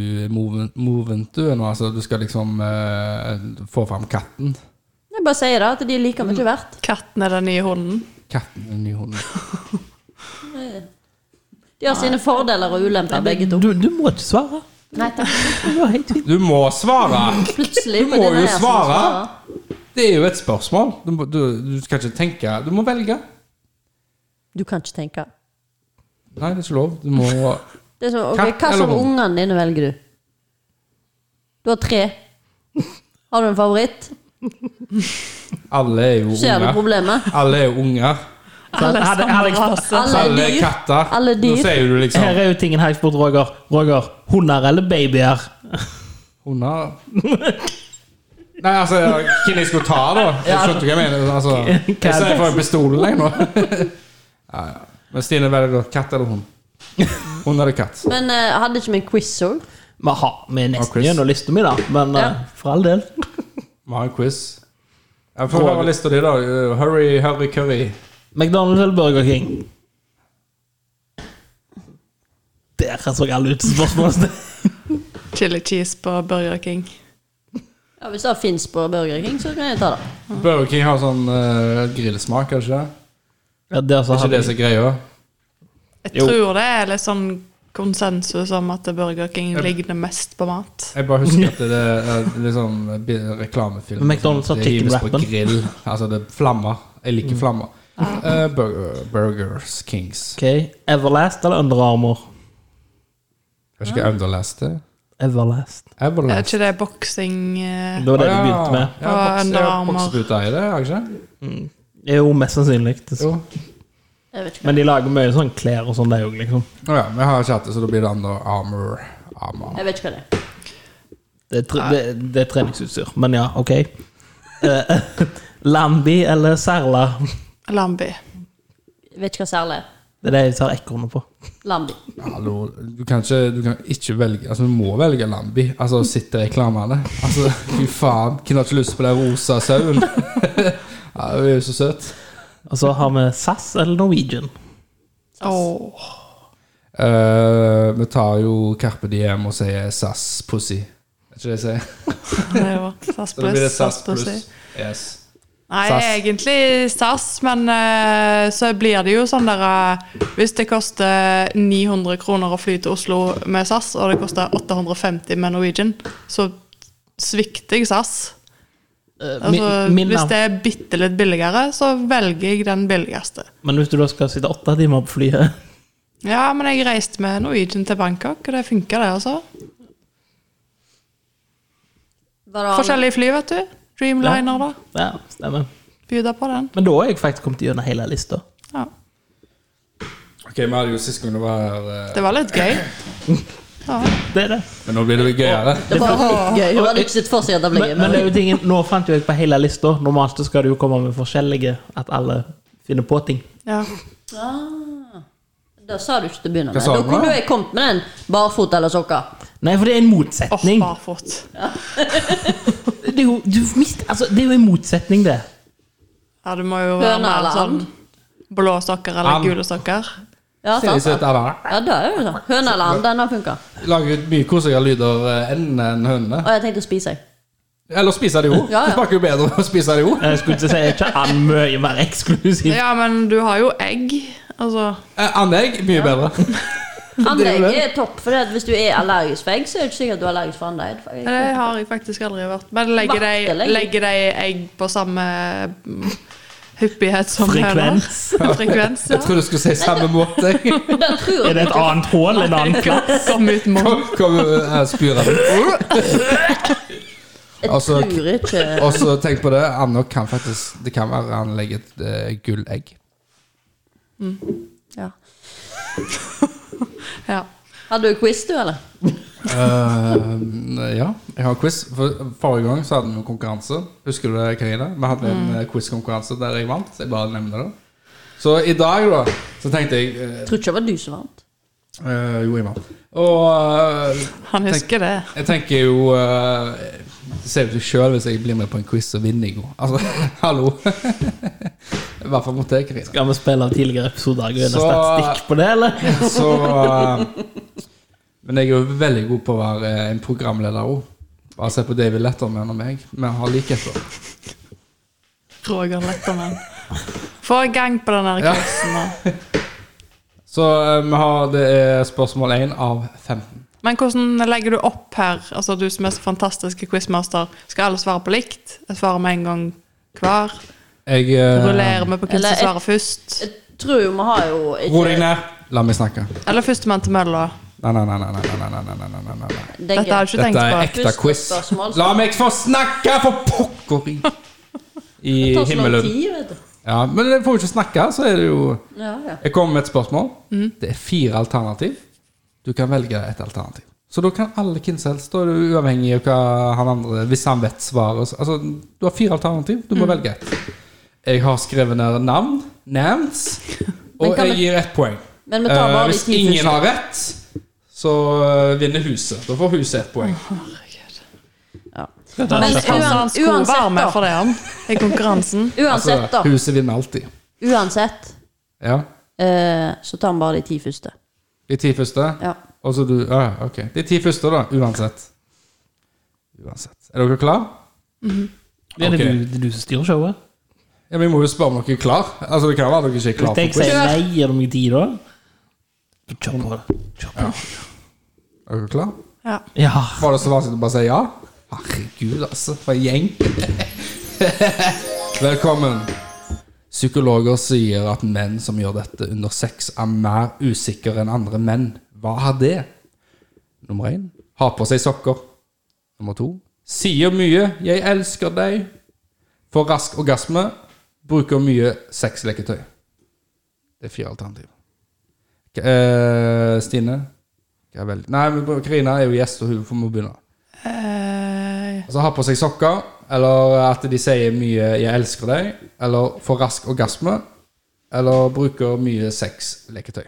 [SPEAKER 2] metoo-movement du nå? Altså du skal liksom eh, få fram katten?
[SPEAKER 1] Jeg bare sier det, at de er like
[SPEAKER 2] Mm.
[SPEAKER 1] mye verdt.
[SPEAKER 4] Katten er den nye hunden.
[SPEAKER 2] Katten er den nye hunden.
[SPEAKER 1] De har sine fordeler og ulemper, begge to.
[SPEAKER 3] Du, du må ikke svare.
[SPEAKER 1] Nei, takk.
[SPEAKER 3] Det var helt fint.
[SPEAKER 2] Du må svare!
[SPEAKER 1] Plutselig.
[SPEAKER 2] Du
[SPEAKER 1] for det
[SPEAKER 2] må
[SPEAKER 1] er
[SPEAKER 2] jo
[SPEAKER 1] jeg som
[SPEAKER 2] svare.
[SPEAKER 1] svarer.
[SPEAKER 2] Det er jo et spørsmål. Du, må- du, du skal ikke tenke Du må velge.
[SPEAKER 1] Du kan ikke tenke.
[SPEAKER 2] Nei, det er ikke lov. Du må
[SPEAKER 1] Det er sånn, ok,
[SPEAKER 2] Katt
[SPEAKER 1] hva
[SPEAKER 2] eller
[SPEAKER 1] som
[SPEAKER 2] hund?
[SPEAKER 1] ungene dine velger du? Du har tre. Har du en favoritt?
[SPEAKER 2] Alle er jo
[SPEAKER 1] Ser du
[SPEAKER 2] unger.
[SPEAKER 1] problemet?
[SPEAKER 2] Alle er jo unger.
[SPEAKER 3] Hadde, hadde jeg fått
[SPEAKER 1] Alle
[SPEAKER 2] Så
[SPEAKER 1] er
[SPEAKER 2] alle er
[SPEAKER 1] dyr.
[SPEAKER 2] katter.
[SPEAKER 1] Alle er dyr.
[SPEAKER 2] Nå sier du liksom
[SPEAKER 3] Her er jo tingen her jeg spurte Roger. Roger, Hunder eller babyer?
[SPEAKER 2] Hunder Nei, altså, hvem jeg skulle ta, da? Jeg skjønte hva jeg mener. Altså, jeg ser for meg pistolen, jeg, nå. Ja, ja. Men Stine velger da katt eller hund. Hund eller katt.
[SPEAKER 1] Men eh, hadde ikke vi en quiz òg?
[SPEAKER 3] Vi har vi er
[SPEAKER 2] Og
[SPEAKER 3] nesten
[SPEAKER 2] Chris.
[SPEAKER 3] gjennom lista mi, da. Men
[SPEAKER 1] Ja.
[SPEAKER 3] eh, for all del.
[SPEAKER 2] Vi har en quiz. Jeg får høre lista di, da. Uh, Hurry, hurry, curry.
[SPEAKER 3] McDonald's eller Burger King? Der så alle ut som spørsmålstegn.
[SPEAKER 4] Chili cheese på Burger King.
[SPEAKER 1] Ja, Hvis det fins på Burger King, så kan jeg ta det.
[SPEAKER 2] Burger King har sånn uh, grillsmak, kanskje?
[SPEAKER 3] Ja, der så
[SPEAKER 2] Er
[SPEAKER 3] har
[SPEAKER 2] ikke det
[SPEAKER 3] vi-
[SPEAKER 2] som er greia?
[SPEAKER 4] Jeg
[SPEAKER 3] Jo.
[SPEAKER 4] tror det er litt sånn konsensus om at Burger King ligner mest på mat.
[SPEAKER 2] Jeg bare husker at det er liksom reklamefilm.
[SPEAKER 3] Men McDonald's har Mm.
[SPEAKER 2] Det hives på
[SPEAKER 3] chicken-wrappen.
[SPEAKER 2] grill. Altså, det er flammer. Jeg liker flammer. Uh, burger, burgers Kings.
[SPEAKER 3] Ok, Everlast eller Under Armour?
[SPEAKER 2] Kanskje ikke Underlast det?
[SPEAKER 3] Everlast.
[SPEAKER 4] Er
[SPEAKER 2] Everlast.
[SPEAKER 4] ikke det boksing eh,
[SPEAKER 3] Det var det du begynte med.
[SPEAKER 2] Ja,
[SPEAKER 4] Og
[SPEAKER 2] boks-
[SPEAKER 4] Under
[SPEAKER 2] ja,
[SPEAKER 4] Armour.
[SPEAKER 2] bokseputer i det, har jeg ikke?
[SPEAKER 3] Jo, mest sannsynlig. Det-
[SPEAKER 2] Jo.
[SPEAKER 1] Jeg vet ikke.
[SPEAKER 3] Men de lager mye sånn klær og sånn, det òg, liksom.
[SPEAKER 2] Å ja, men jeg har ikke hatt det, så da blir det Under Armour. Armour.
[SPEAKER 1] Jeg vet ikke hva det er.
[SPEAKER 3] Det er, tre, det, det er treningsutstyr. Men ja, OK. Eh, Lambi eller Serla?
[SPEAKER 4] Lambi.
[SPEAKER 1] Jeg vet ikke hva særlig er.
[SPEAKER 3] Det er det jeg tar ekornet på.
[SPEAKER 1] Lambi.
[SPEAKER 2] Hallo, du kan ikke, du kan ikke velge Altså, du må velge Lambi. Altså, sitter reklamene. Altså, fy faen. Hvem har ikke lyst på den rosa sauen? ja, Hun er jo så søt.
[SPEAKER 3] Og så har vi SAS eller Norwegian.
[SPEAKER 4] Åh.
[SPEAKER 2] Eh, vi tar jo Carpe Diem og sier SAS Pussy. Er ikke det jeg sier?
[SPEAKER 4] Det er jo SAS
[SPEAKER 2] Så da blir det
[SPEAKER 4] pluss.
[SPEAKER 2] SAS
[SPEAKER 4] SAS pluss.
[SPEAKER 2] pluss. Yes.
[SPEAKER 4] Nei,
[SPEAKER 2] SAS.
[SPEAKER 4] egentlig SAS, men eh, så blir det jo sånn der eh, Hvis det koster 900 kroner å fly til Oslo med SAS, og det koster 850 med Norwegian, så svikter jeg SAS.
[SPEAKER 3] Eh, mi-
[SPEAKER 4] Altså,
[SPEAKER 3] min
[SPEAKER 4] hvis
[SPEAKER 3] navn.
[SPEAKER 4] det er bitte litt billigere, så velger jeg den billigste.
[SPEAKER 3] Men hvis du da skal sitte åtte timer på flyet
[SPEAKER 4] Ja, men jeg reiste med Norwegian til Bangkok, og det funka, det, altså.
[SPEAKER 1] Var det Arne?
[SPEAKER 4] Forskjellige fly, vet du. Dreamliner, da.
[SPEAKER 3] Ja, stemmer.
[SPEAKER 4] Bjuda på den.
[SPEAKER 3] Men da har jeg faktisk kommet gjennom hele lista.
[SPEAKER 4] Ja.
[SPEAKER 2] Ok, vi hadde jo sist gang det var her eh,
[SPEAKER 4] Det var litt gøy. Ja.
[SPEAKER 3] Det er det.
[SPEAKER 2] Men nå blir det gøyere.
[SPEAKER 1] Det var litt gøy. Hun hadde ikke sett for seg at det ble gøy.
[SPEAKER 3] Men, men det er jo tingen, nå fant jo jeg på hele lista. Normalt så skal det jo komme med forskjellige, at alle finner på ting.
[SPEAKER 4] ja.
[SPEAKER 1] Ah. Da sa du ikke til å begynne
[SPEAKER 2] Hva
[SPEAKER 1] med.
[SPEAKER 2] sa
[SPEAKER 1] Da
[SPEAKER 2] du nå?
[SPEAKER 1] kunne jeg kommet med den barfot eller sokker.
[SPEAKER 3] Nei, for det er en
[SPEAKER 4] Åh,
[SPEAKER 3] motsetning.
[SPEAKER 4] barfot.
[SPEAKER 3] det, er jo, du mist, altså, det er jo en motsetning, det.
[SPEAKER 4] Ja, du må jo være
[SPEAKER 1] Høne
[SPEAKER 4] mer
[SPEAKER 1] eller
[SPEAKER 4] sånn
[SPEAKER 1] and?
[SPEAKER 4] blå sokker eller
[SPEAKER 2] And.
[SPEAKER 4] gule sokker.
[SPEAKER 1] Ja,
[SPEAKER 2] Ser
[SPEAKER 1] sant?
[SPEAKER 2] ut som et
[SPEAKER 1] Ja, det er jo sånn. Høne eller and, den har funka.
[SPEAKER 2] Lager ut mye koseligere lyder eh, enn enn hønene.
[SPEAKER 1] Og jeg tenkte å spise, jeg.
[SPEAKER 2] Eller spise det jo.
[SPEAKER 1] Ja, ja.
[SPEAKER 2] Det smaker jo bedre å spise det jo.
[SPEAKER 3] Jeg skulle ikke si jeg er ikke an mye mer eksklusiv.
[SPEAKER 4] Ja, men du har jo egg. Altså
[SPEAKER 2] Eh, Andegg, mye bedre.
[SPEAKER 1] Anlegg er topp, for det at hvis du er allergisk for egg, så er det ikke sikkert at du er allergisk for anlegg.
[SPEAKER 4] Nei, Det har jeg faktisk aldri vært. Men legger de,
[SPEAKER 1] Vaktelegg.
[SPEAKER 4] legger de egg på samme mm, hyppighet som
[SPEAKER 3] Frekvens.
[SPEAKER 4] høner? Frekvens, ja.
[SPEAKER 2] Jeg tror du skulle si samme måte.
[SPEAKER 1] Det tror
[SPEAKER 3] Er
[SPEAKER 1] jeg
[SPEAKER 3] det et annet hull, en annen plass?
[SPEAKER 4] Kom ut med
[SPEAKER 2] Kom, kom eh, spyr av det.
[SPEAKER 1] Jeg
[SPEAKER 2] Altså-
[SPEAKER 1] tror ikke
[SPEAKER 2] Og så tenk på det, Anne kan faktisk Det kan være han legger et eh, gullegg.
[SPEAKER 1] ja.
[SPEAKER 4] Ja.
[SPEAKER 1] Hadde du quiz, du, eller?
[SPEAKER 2] Eh, ja, jeg har quiz. For, forrige gang så hadde vi en konkurranse. Husker du det, Karina? Vi hadde
[SPEAKER 1] Mm.
[SPEAKER 2] en eh, quiz-konkurranse der jeg vant. Jeg bare nevner det. Så i dag, da, så tenkte jeg eh,
[SPEAKER 1] Jeg tror ikke det var du som vant.
[SPEAKER 2] Eh, jo, jeg vant. Og eh,
[SPEAKER 4] Han husker det.
[SPEAKER 2] jeg tenker jo eh, Det ser jo seg sjøl hvis jeg blir med på en quiz og vinner i går. Altså, hallo! I hvert fall mot deg, Karina.
[SPEAKER 3] Skal vi spille av tidligere episoder? Gå inn og
[SPEAKER 2] Så-
[SPEAKER 3] statistikk på det, eller?
[SPEAKER 2] Så eh, Men jeg er jo veldig god på å være eh, en programleder òg. Bare se på David Letterman og meg. Vi har likheter.
[SPEAKER 4] Roger Letterman. Få i gang på den der
[SPEAKER 2] Ja.
[SPEAKER 4] quizen. da.
[SPEAKER 2] Så eh, vi har, det er spørsmål 1 av 15.
[SPEAKER 4] Men hvordan legger du opp her? Altså Du som er så fantastisk quizmaster, skal alle svare på likt? Jeg svarer med en gang hver.
[SPEAKER 2] Jeg eh,
[SPEAKER 4] Rullerer vi på hvem
[SPEAKER 1] Eller
[SPEAKER 4] som
[SPEAKER 1] et-
[SPEAKER 4] svarer først?
[SPEAKER 1] Jeg tror jo vi har jo
[SPEAKER 2] Ro deg
[SPEAKER 1] ikke
[SPEAKER 2] ned. La meg snakke.
[SPEAKER 4] Eller førstemann til mølla?
[SPEAKER 2] Nei, nei, nei. nei, nei, nei, nei, nei, nei, nei, nei.
[SPEAKER 1] det er
[SPEAKER 4] Dette har
[SPEAKER 1] gøy.
[SPEAKER 4] jeg ikke
[SPEAKER 2] Dette er
[SPEAKER 4] tenkt på.
[SPEAKER 2] ekte
[SPEAKER 1] Første
[SPEAKER 2] quiz.
[SPEAKER 1] spørsmål.
[SPEAKER 2] La meg få snakke, for pokker i I
[SPEAKER 1] Det tar så lang
[SPEAKER 2] himmelen.
[SPEAKER 1] tid, vet du.
[SPEAKER 2] Ja, men jeg får jo ikke snakke, så er det jo
[SPEAKER 1] Ja, ja.
[SPEAKER 2] Jeg kommer med et spørsmål. Det er fire alternativ. Du kan velge et alternativ. Så da kan alle hvem som helst, da er du uavhengig av hva han andre Hvis han vet svaret så- Altså, du har fire alternativ. Du må
[SPEAKER 1] Mm.
[SPEAKER 2] velge ett. Jeg har skrevet ned navn, navns,
[SPEAKER 1] Men
[SPEAKER 2] og
[SPEAKER 1] kan
[SPEAKER 2] jeg
[SPEAKER 1] vi-
[SPEAKER 2] gir ett poeng.
[SPEAKER 1] Men vi tar
[SPEAKER 2] Eh,
[SPEAKER 1] bare de
[SPEAKER 2] hvis
[SPEAKER 1] ti
[SPEAKER 2] ingen
[SPEAKER 1] første.
[SPEAKER 2] har rett, så eh, vinner huset. Da får huset ett poeng.
[SPEAKER 1] Ja.
[SPEAKER 3] Dette
[SPEAKER 1] Men
[SPEAKER 3] er
[SPEAKER 4] Kanskje
[SPEAKER 1] uan-
[SPEAKER 4] han skulle
[SPEAKER 1] uansett
[SPEAKER 4] være med
[SPEAKER 1] da.
[SPEAKER 4] for det, han. I konkurransen.
[SPEAKER 1] Uansett, da.
[SPEAKER 2] Altså, huset vinner alltid.
[SPEAKER 1] Uansett,
[SPEAKER 2] Ja.
[SPEAKER 1] eh, så tar vi bare de ti første.
[SPEAKER 2] De ti første?
[SPEAKER 1] Ja.
[SPEAKER 2] Og så du Ja, ok. De ti første, da. Uansett. Uansett. Er dere klare?
[SPEAKER 3] Er
[SPEAKER 2] Ok.
[SPEAKER 3] det du, det er du som styrer showet?
[SPEAKER 2] Ja, men Vi må jo spørre om dere er klar. Altså, det kan være at dere ikke er klar
[SPEAKER 3] Hvis jeg
[SPEAKER 2] for quiz.
[SPEAKER 3] sier nei, gir du meg tid da? Kjør på det. Kjør på.
[SPEAKER 2] Er dere klar?
[SPEAKER 4] Ja.
[SPEAKER 3] Ja.
[SPEAKER 2] Var det så vanskelig å bare si ja? Herregud, altså. For en gjeng. Velkommen. Psykologer sier at menn som gjør dette under sex, er mer usikre enn andre menn. Hva er det? Nummer én har på seg sokker. Nummer to sier mye 'jeg elsker deg'. Får rask orgasme. Bruker mye sexleketøy. Det er fire alternativer. K- eh, Stine? Hva vel? Nei, men Karina er jo gjest, og hun får- må begynne.
[SPEAKER 4] Eh,
[SPEAKER 2] Altså ha på seg sokker, eller at de sier mye 'jeg elsker deg', eller får rask orgasme, eller bruker mye sexleketøy.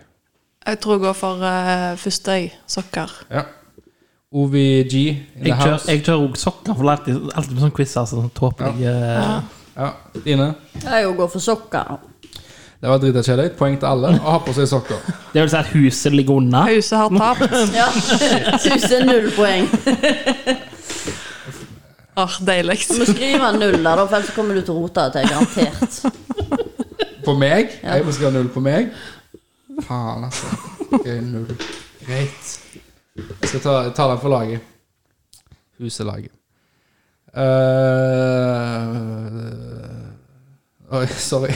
[SPEAKER 4] jeg tror jeg går for eh, første øy. Sokker.
[SPEAKER 2] Ja. OVG in the
[SPEAKER 3] Jeg kjører,
[SPEAKER 2] house.
[SPEAKER 3] jeg kjører også sokker, for det er alltid, alltid med sånn quiz, altså, sånn tåpelige
[SPEAKER 2] Ja, Dine.
[SPEAKER 1] Jeg jo går for sokker.
[SPEAKER 2] Det var drita kjedelig. Poeng til alle. Å ha på seg sokker.
[SPEAKER 3] Det vil si at huset ligger unna.
[SPEAKER 4] Huset har tapt.
[SPEAKER 1] Ja. Tusen null poeng.
[SPEAKER 4] Åh, Deilig.
[SPEAKER 1] Du må skrive null der, da, for ellers kommer du til å rote det til, garantert.
[SPEAKER 2] På meg? Jeg må skrive null på meg. Faen, altså. Ok, null. Greit. Jeg skal ta, ta den for laget. Huselaget. Eh, Oi, sorry.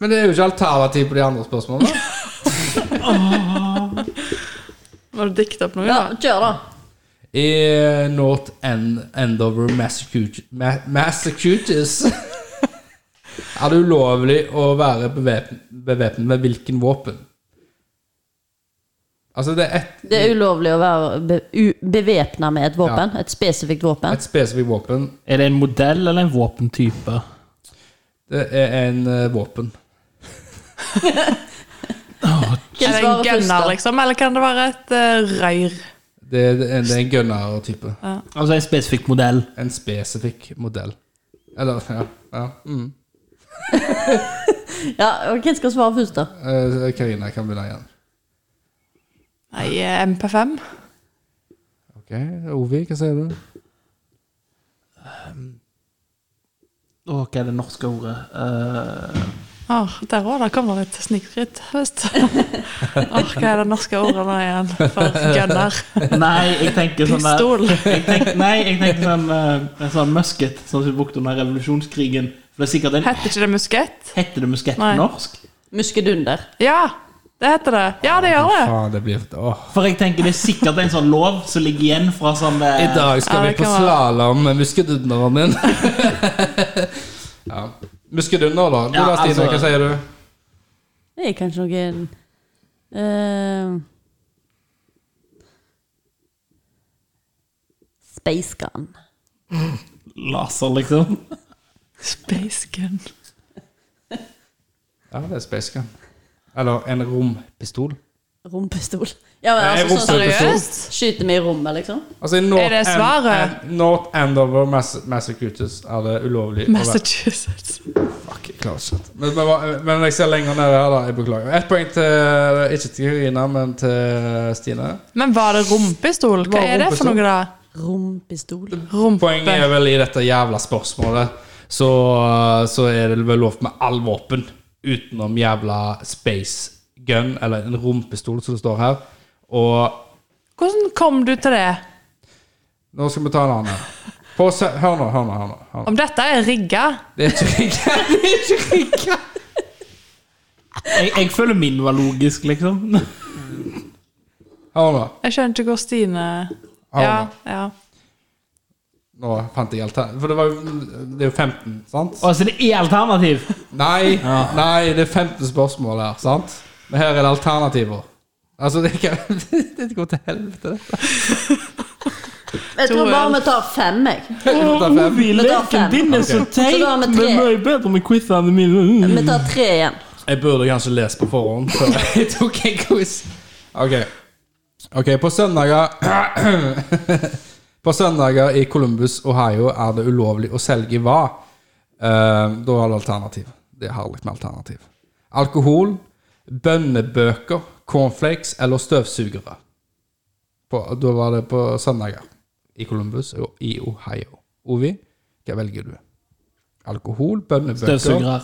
[SPEAKER 2] Men det er jo ikke alternativ på de andre spørsmålene.
[SPEAKER 4] Må du dikte opp noe?
[SPEAKER 1] Ja,
[SPEAKER 4] da?
[SPEAKER 1] kjør, da.
[SPEAKER 2] I North End, Endover, Massachusetts Ma- Massachusetts er det ulovlig å være bevæpn- bevæpnet med hvilken våpen? Altså, det er ett
[SPEAKER 1] Det er ulovlig å være be u- bevæpna med et våpen. Et spesifikt våpen.
[SPEAKER 2] et spesifikt våpen.
[SPEAKER 3] Er det en modell eller en våpentype?
[SPEAKER 2] Det er en eh, våpen.
[SPEAKER 1] Hvem
[SPEAKER 4] Er det en
[SPEAKER 1] svarer først,
[SPEAKER 4] gunner,
[SPEAKER 1] da?
[SPEAKER 4] liksom? Eller kan det være et eh, røyr?
[SPEAKER 2] Det er, det er en- det er en gunner-type.
[SPEAKER 3] Altså en spesifikk modell.
[SPEAKER 2] En spesifikk modell. Eller Ja. ja. Mm.
[SPEAKER 1] Ja, og Hvem skal svare først, da?
[SPEAKER 2] Eh, Karina kan begynne igjen.
[SPEAKER 4] Nei, eh, MP5?
[SPEAKER 2] Ok, Ovi, hva sier du?
[SPEAKER 3] Å, hva er det norske ordet? Eh,
[SPEAKER 4] Åh, der òg. Der kommer det et snikskritt. Visst. Åh, hva er det norske ordet nå igjen for gunner?
[SPEAKER 3] nei, jeg tenker sånn
[SPEAKER 1] eh,
[SPEAKER 3] der,
[SPEAKER 4] Pistol.
[SPEAKER 3] jeg tenker, Nei, jeg tenker sånn eh, En sånn musket sånn som vi brukte under revolusjonskrigen. For det er sikkert en
[SPEAKER 4] Heter ikke det muskett?
[SPEAKER 3] Heter det muskett på
[SPEAKER 4] Nei.
[SPEAKER 3] norsk?
[SPEAKER 1] Muskedunder.
[SPEAKER 4] Ja, det heter det. Ja, det gjør det.
[SPEAKER 2] Faen, det blir Åh.
[SPEAKER 3] For jeg tenker det er sikkert en sånn lov som ligger igjen fra sånn eh,
[SPEAKER 2] I dag skal
[SPEAKER 4] Ja, det
[SPEAKER 2] vi på
[SPEAKER 4] kan være.
[SPEAKER 2] slalåm med muskedunderen min. ja. Muskedunder, da. Du
[SPEAKER 3] Ja,
[SPEAKER 2] da, Stine,
[SPEAKER 3] altså-
[SPEAKER 2] hva sier du?
[SPEAKER 1] Det er kanskje noen uh, Space gun.
[SPEAKER 3] Laser, liksom.
[SPEAKER 4] Space gun.
[SPEAKER 2] Ja, det er space gun. Eller en rompistol.
[SPEAKER 1] Rumpestol. Ja, men,
[SPEAKER 2] Nei,
[SPEAKER 1] altså, sånn som
[SPEAKER 2] rumpestol.
[SPEAKER 4] Seriøst?
[SPEAKER 1] skyter vi i rommet, liksom.
[SPEAKER 2] Altså, i North
[SPEAKER 4] Er det
[SPEAKER 2] End-
[SPEAKER 4] svaret?
[SPEAKER 2] End- North Endover, Mass Massachusetts, er det ulovlig å være
[SPEAKER 4] Massachusetts.
[SPEAKER 2] Fuck, jeg klarer ikke dette. Men, men, men jeg ser lenger ned her, da. Jeg beklager. Ett poeng til ikke til Karina, men til Stine.
[SPEAKER 4] Men var det rumpestol? Hva
[SPEAKER 2] Var
[SPEAKER 4] er det for
[SPEAKER 2] rumpestol?
[SPEAKER 4] noe, da?
[SPEAKER 1] Rumpestol.
[SPEAKER 4] Rumpe.
[SPEAKER 2] Poenget er vel i dette jævla spørsmålet, så, så er det vel lov med all våpen utenom jævla space gun, eller en rumpestol, som det står her. Og
[SPEAKER 4] Hvordan kom du til det?
[SPEAKER 2] Nå skal vi ta en annen. På, sø- hør nå, hør nå. hør nå, hør nå.
[SPEAKER 4] Om dette er rigga?
[SPEAKER 2] Det er ikke riktig. Det er ikke riktig.
[SPEAKER 3] Jeg, jeg føler min var logisk, liksom.
[SPEAKER 2] Hør nå.
[SPEAKER 4] Jeg skjønner ikke hvor Stine
[SPEAKER 2] Hør
[SPEAKER 4] Ja,
[SPEAKER 2] nå.
[SPEAKER 4] ja.
[SPEAKER 2] Nå fant jeg alt her. For det, var, jo- det er jo 15, sant?
[SPEAKER 3] Og så det er alternativ!
[SPEAKER 2] Nei, nei, det er 15 spørsmål her, sant? Men her er det alternativer. Altså, det, kan, det går til helvete, dette.
[SPEAKER 1] Jeg
[SPEAKER 4] To
[SPEAKER 1] tror bare
[SPEAKER 4] øl.
[SPEAKER 1] vi tar fem, jeg.
[SPEAKER 2] tar fem.
[SPEAKER 3] Ovi,
[SPEAKER 1] Vi tar fem.
[SPEAKER 3] leken din er så
[SPEAKER 2] Ok.
[SPEAKER 1] Så
[SPEAKER 3] teit,
[SPEAKER 1] da har vi
[SPEAKER 3] men
[SPEAKER 1] tre.
[SPEAKER 3] mye bedre med quizene mine.
[SPEAKER 1] Vi tar tre igjen.
[SPEAKER 2] Jeg burde kanskje lese på forhånd før jeg tok en quiz. Ok. Ok, på søndager På søndager i Columbus, Ohio, er det ulovlig å selge hva? Eh, da er det alternativ. Det er herlig med alternativ. Alkohol, bønnebøker, cornflakes eller støvsugere. På, da var det på søndager i Columbus og i Ohio. Ovi, hva velger du? Alkohol, bønnebøker
[SPEAKER 3] Støvsugere.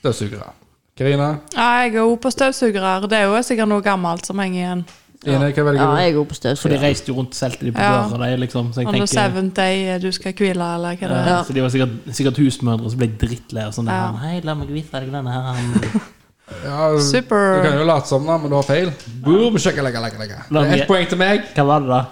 [SPEAKER 2] Støvsugere. Karina,
[SPEAKER 4] ja jeg er òg på støvsugere. Det er jo sikkert noe gammelt som henger igjen.
[SPEAKER 2] Stine, hva velger
[SPEAKER 1] Ja,
[SPEAKER 2] du?
[SPEAKER 1] jeg er god på
[SPEAKER 3] For de
[SPEAKER 1] støvsugere.
[SPEAKER 3] reiste jo rundt og solgte de på
[SPEAKER 4] Ja.
[SPEAKER 3] døra, de, liksom. Så jeg
[SPEAKER 4] On the
[SPEAKER 3] tenker eh,
[SPEAKER 4] seventh day eh, du skal hvile, eller hva det er.
[SPEAKER 1] Ja.
[SPEAKER 3] Så de var sikkert, sikkert husmødre som ble drittlei og sånn.
[SPEAKER 4] Ja.
[SPEAKER 3] der, Hei, la meg vise deg denne her. han-
[SPEAKER 2] Ja,
[SPEAKER 4] Super.
[SPEAKER 2] Du kan jo late som, da, men du har feil. Boom, sjekka, legge, legge, legge. Det er ett poeng til meg.
[SPEAKER 3] Hva var det, da?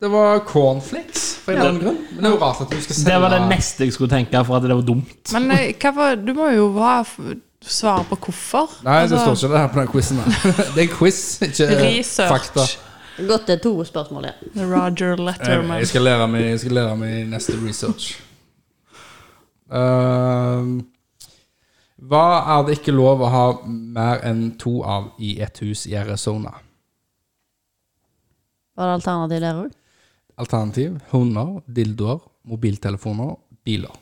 [SPEAKER 2] Det var cornflakes. For en eller annen grunn. Men det er jo rart at du skal selge
[SPEAKER 3] Det var det neste jeg skulle tenke, for at det var dumt.
[SPEAKER 4] Men eh, hva var, du må jo ha f- svar på hvorfor.
[SPEAKER 2] Nei, det
[SPEAKER 4] Altså,
[SPEAKER 2] står ikke det her på den quizen. Det er en quiz, ikke
[SPEAKER 4] Research.
[SPEAKER 2] fakta.
[SPEAKER 1] Godt det er to spørsmål igjen.
[SPEAKER 4] Roger
[SPEAKER 2] Jeg,
[SPEAKER 4] Letterman.
[SPEAKER 2] Eh, jeg skal lære meg Jeg skal lære meg neste research. Ehm, hva er det ikke lov å ha mer enn to av i et hus i Arizona?
[SPEAKER 1] Var det alternativ der òg?
[SPEAKER 2] Alternativ hunder, dildoer, mobiltelefoner, biler.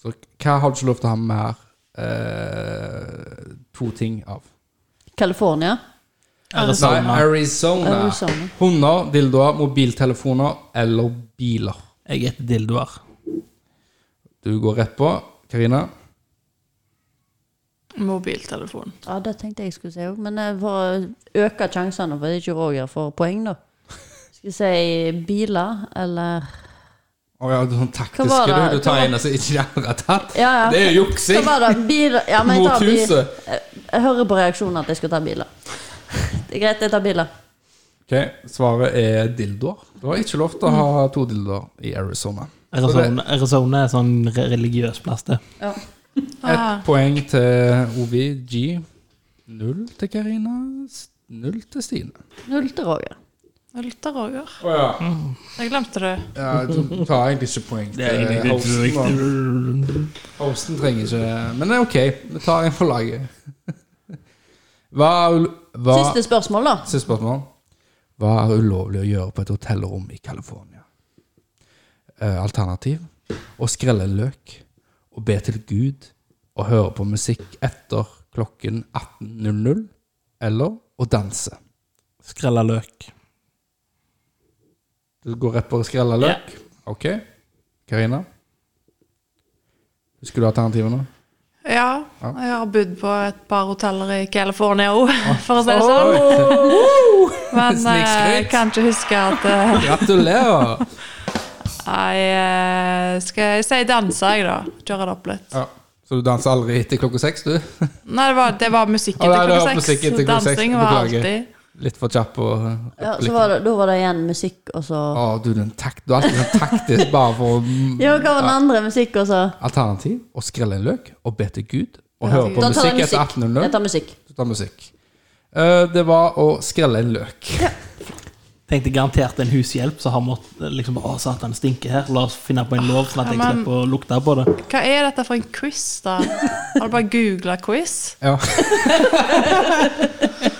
[SPEAKER 2] Så hva har du ikke lov til å ha mer eh, to ting av?
[SPEAKER 1] California.
[SPEAKER 2] Nei, Arizona.
[SPEAKER 1] Arizona.
[SPEAKER 2] Hunder, dildoer, mobiltelefoner eller biler.
[SPEAKER 3] Jeg heter dildoer.
[SPEAKER 2] Du går rett på. Karina?
[SPEAKER 4] Mobiltelefon.
[SPEAKER 1] Ja, det tenkte jeg skulle si òg, men eh, for å øke sjansene for at ikke Roger får poeng, da. Skal vi si biler, eller
[SPEAKER 2] Å ja, du er
[SPEAKER 1] Hva
[SPEAKER 2] sånn taktisk
[SPEAKER 1] var det?
[SPEAKER 2] du. Du
[SPEAKER 1] Hva
[SPEAKER 2] tar
[SPEAKER 1] var-
[SPEAKER 2] en som ikke de andre har tatt.
[SPEAKER 1] Ja, ja.
[SPEAKER 2] Det er jo
[SPEAKER 1] Hva
[SPEAKER 2] juksing!
[SPEAKER 1] var det? Biler ja, men jeg,
[SPEAKER 2] Mot
[SPEAKER 1] tar bil.
[SPEAKER 2] huset.
[SPEAKER 1] jeg hører på reaksjonen at jeg skal ta biler. Det er greit, jeg tar biler.
[SPEAKER 2] Ok, Svaret er dildoer. Det var ikke lov til å ha to dildoer i Arizona. Så det-
[SPEAKER 3] Arizona, Arizona er sånn re religiøs plass, det.
[SPEAKER 1] Ja.
[SPEAKER 4] Ah,
[SPEAKER 2] Ett poeng til OVG. Null til Karina. s- Null til Stine.
[SPEAKER 1] Null til Roger.
[SPEAKER 4] jeg lukter Roger.
[SPEAKER 2] Å ja.
[SPEAKER 4] Jeg glemte det.
[SPEAKER 2] Du tar egentlig ikke poeng til hosten. da. Hosten trenger ikke Men det er ok. Vi tar en for laget. Hva er ul- hva,
[SPEAKER 1] Siste spørsmål, da.
[SPEAKER 2] Siste spørsmål. Hva er ulovlig å gjøre på et hotellrom i California? Eh, Alternativ å skrelle løk, å be til Gud, å høre på musikk etter klokken 18.00, eller å danse.
[SPEAKER 3] Skrella løk.
[SPEAKER 2] Du går rett på å skrelle løk? Ok. Karina? Husker du alternativene?
[SPEAKER 4] Ja,
[SPEAKER 2] Ja.
[SPEAKER 4] jeg har bodd på et par hoteller i California òg, for å si det sånn.
[SPEAKER 2] Oi!
[SPEAKER 4] Men eh,
[SPEAKER 2] Snikskryt.
[SPEAKER 4] jeg kan ikke huske at eh,
[SPEAKER 2] Gratulerer!
[SPEAKER 4] Jeg eh, skal jeg si danse, jeg, da. Kjøre det opp litt.
[SPEAKER 2] Ja. Så du danser aldri etter klokka seks, du?
[SPEAKER 4] Nei, det var, det var musikk
[SPEAKER 2] Å, nei,
[SPEAKER 4] etter
[SPEAKER 2] det var
[SPEAKER 4] klokka
[SPEAKER 2] musikk
[SPEAKER 4] seks.
[SPEAKER 2] etter klokka seks.
[SPEAKER 4] Dansing var
[SPEAKER 2] Beklager.
[SPEAKER 4] alltid
[SPEAKER 2] Litt for kjapp og
[SPEAKER 1] Ja, så var det, da var det igjen musikk, og så
[SPEAKER 2] Å, du, den takt, du er alltid sånn taktisk bare for å-
[SPEAKER 1] Ja, hva var den andre musikk, og så
[SPEAKER 2] Alternativ å skrelle en løk og be til Gud og
[SPEAKER 4] Ja,
[SPEAKER 2] høre på
[SPEAKER 1] Da tar jeg
[SPEAKER 2] musikk etter
[SPEAKER 1] musikk. Jeg
[SPEAKER 2] 1800.
[SPEAKER 1] tar musikk.
[SPEAKER 2] Så ta musikk. Eh, det var å skrelle en løk.
[SPEAKER 3] tenkte garantert en hushjelp som har måttet liksom, Å, satan, det stinker her. La oss finne på en lov, sånn at jeg
[SPEAKER 4] Ja, men-
[SPEAKER 3] slipper å lukte på det.
[SPEAKER 4] Hva er dette for en quiz, da? Har du bare googla quiz?
[SPEAKER 2] Ja.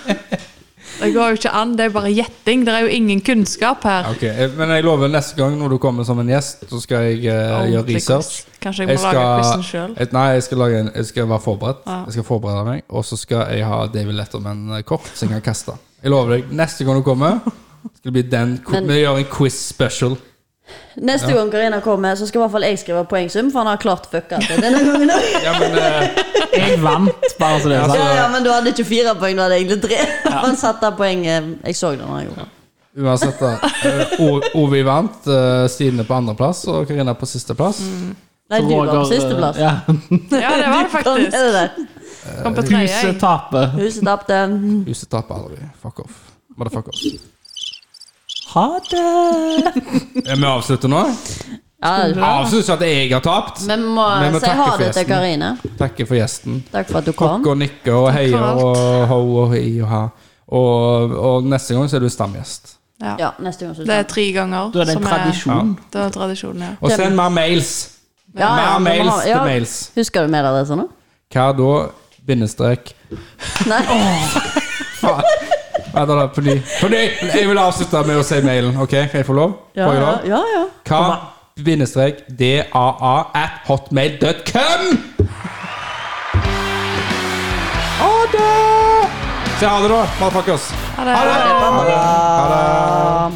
[SPEAKER 4] Det går jo ikke an, det er bare gjetting. Det er jo ingen kunnskap her.
[SPEAKER 2] Ok, eh, Men jeg lover neste gang når du kommer som en gjest, så skal jeg eh, gjøre
[SPEAKER 4] Ordentlig
[SPEAKER 2] research.
[SPEAKER 4] quiz. Kanskje jeg må lage quizen sjøl.
[SPEAKER 2] et- Nei, jeg skal, lage en, jeg skal være forberedt.
[SPEAKER 4] Ja.
[SPEAKER 2] Jeg skal forberede meg, og så skal jeg ha David Letterman-kort som jeg kan kaste. Jeg lover deg, neste gang du kommer, skal det bli den ko-
[SPEAKER 1] Men-
[SPEAKER 2] Vi gjør en quiz special.
[SPEAKER 1] Neste gang Karina kommer, så skal i hvert fall jeg skrive poengsum, for han har klart fucka til denne gangen òg.
[SPEAKER 2] Ja, men eh,
[SPEAKER 3] Jeg vant, bare så det er
[SPEAKER 1] Ja,
[SPEAKER 3] sagt.
[SPEAKER 1] ja, men du hadde ikke fire poeng, du hadde egentlig tre. Han satte av poenget Jeg så det når han gjorde det.
[SPEAKER 2] uansett, da. eh, O- Ovi vant, eh, Stine på andreplass og Karina på sisteplass.
[SPEAKER 1] Mm. Nei, du var på
[SPEAKER 3] Roger, eh,
[SPEAKER 1] sisteplass.
[SPEAKER 3] Ja.
[SPEAKER 4] Ja, det var
[SPEAKER 1] Sånn
[SPEAKER 4] det faktisk.
[SPEAKER 1] er det der.
[SPEAKER 4] Kom på tredje.
[SPEAKER 3] Huset
[SPEAKER 4] jeg.
[SPEAKER 3] taper.
[SPEAKER 1] Huset tapte.
[SPEAKER 2] Huset taper aldri. Fuck off. Motherfuck off.
[SPEAKER 3] Ha det!
[SPEAKER 2] Eh, Vi avslutter nå.
[SPEAKER 1] Ja,
[SPEAKER 2] Avslutter ikke at jeg har tapt.
[SPEAKER 1] vi må
[SPEAKER 2] Vi må
[SPEAKER 1] si
[SPEAKER 2] takke
[SPEAKER 1] ha
[SPEAKER 2] for
[SPEAKER 1] det til
[SPEAKER 2] gjesten.
[SPEAKER 1] Karine.
[SPEAKER 2] Takker for gjesten.
[SPEAKER 1] Takk for at du kom.
[SPEAKER 2] Kokk og nikke og heie
[SPEAKER 4] for alt.
[SPEAKER 2] og ho og hi og ha. Og, og neste gang så er du stamgjest.
[SPEAKER 4] Ja.
[SPEAKER 1] Ja, neste gang så
[SPEAKER 4] Det er tre ganger.
[SPEAKER 3] Da er det en
[SPEAKER 4] som
[SPEAKER 3] tradisjon.
[SPEAKER 4] Det er en tradisjon, ja.
[SPEAKER 2] Og send mer mails!
[SPEAKER 1] Ja,
[SPEAKER 2] mer
[SPEAKER 1] ja, vi må
[SPEAKER 2] mails
[SPEAKER 1] ha-
[SPEAKER 2] til
[SPEAKER 1] ja.
[SPEAKER 2] mails.
[SPEAKER 1] Husker du mailadressen nå?
[SPEAKER 2] Hva da? Bindestrek.
[SPEAKER 1] Nei.
[SPEAKER 2] Faen. Nei, da er det på ny. På ny! Jeg vil avslutte med å si mailen. OK, kan jeg få lov?
[SPEAKER 1] Ja,
[SPEAKER 2] Får jeg
[SPEAKER 1] ja,
[SPEAKER 2] lov?
[SPEAKER 1] ja, ja.
[SPEAKER 2] Hva? Bindestrek daa at hotmail.com! Ha det! Si ha det, da, motherfuckers.
[SPEAKER 4] Ha det.
[SPEAKER 2] Ha det.
[SPEAKER 1] Um,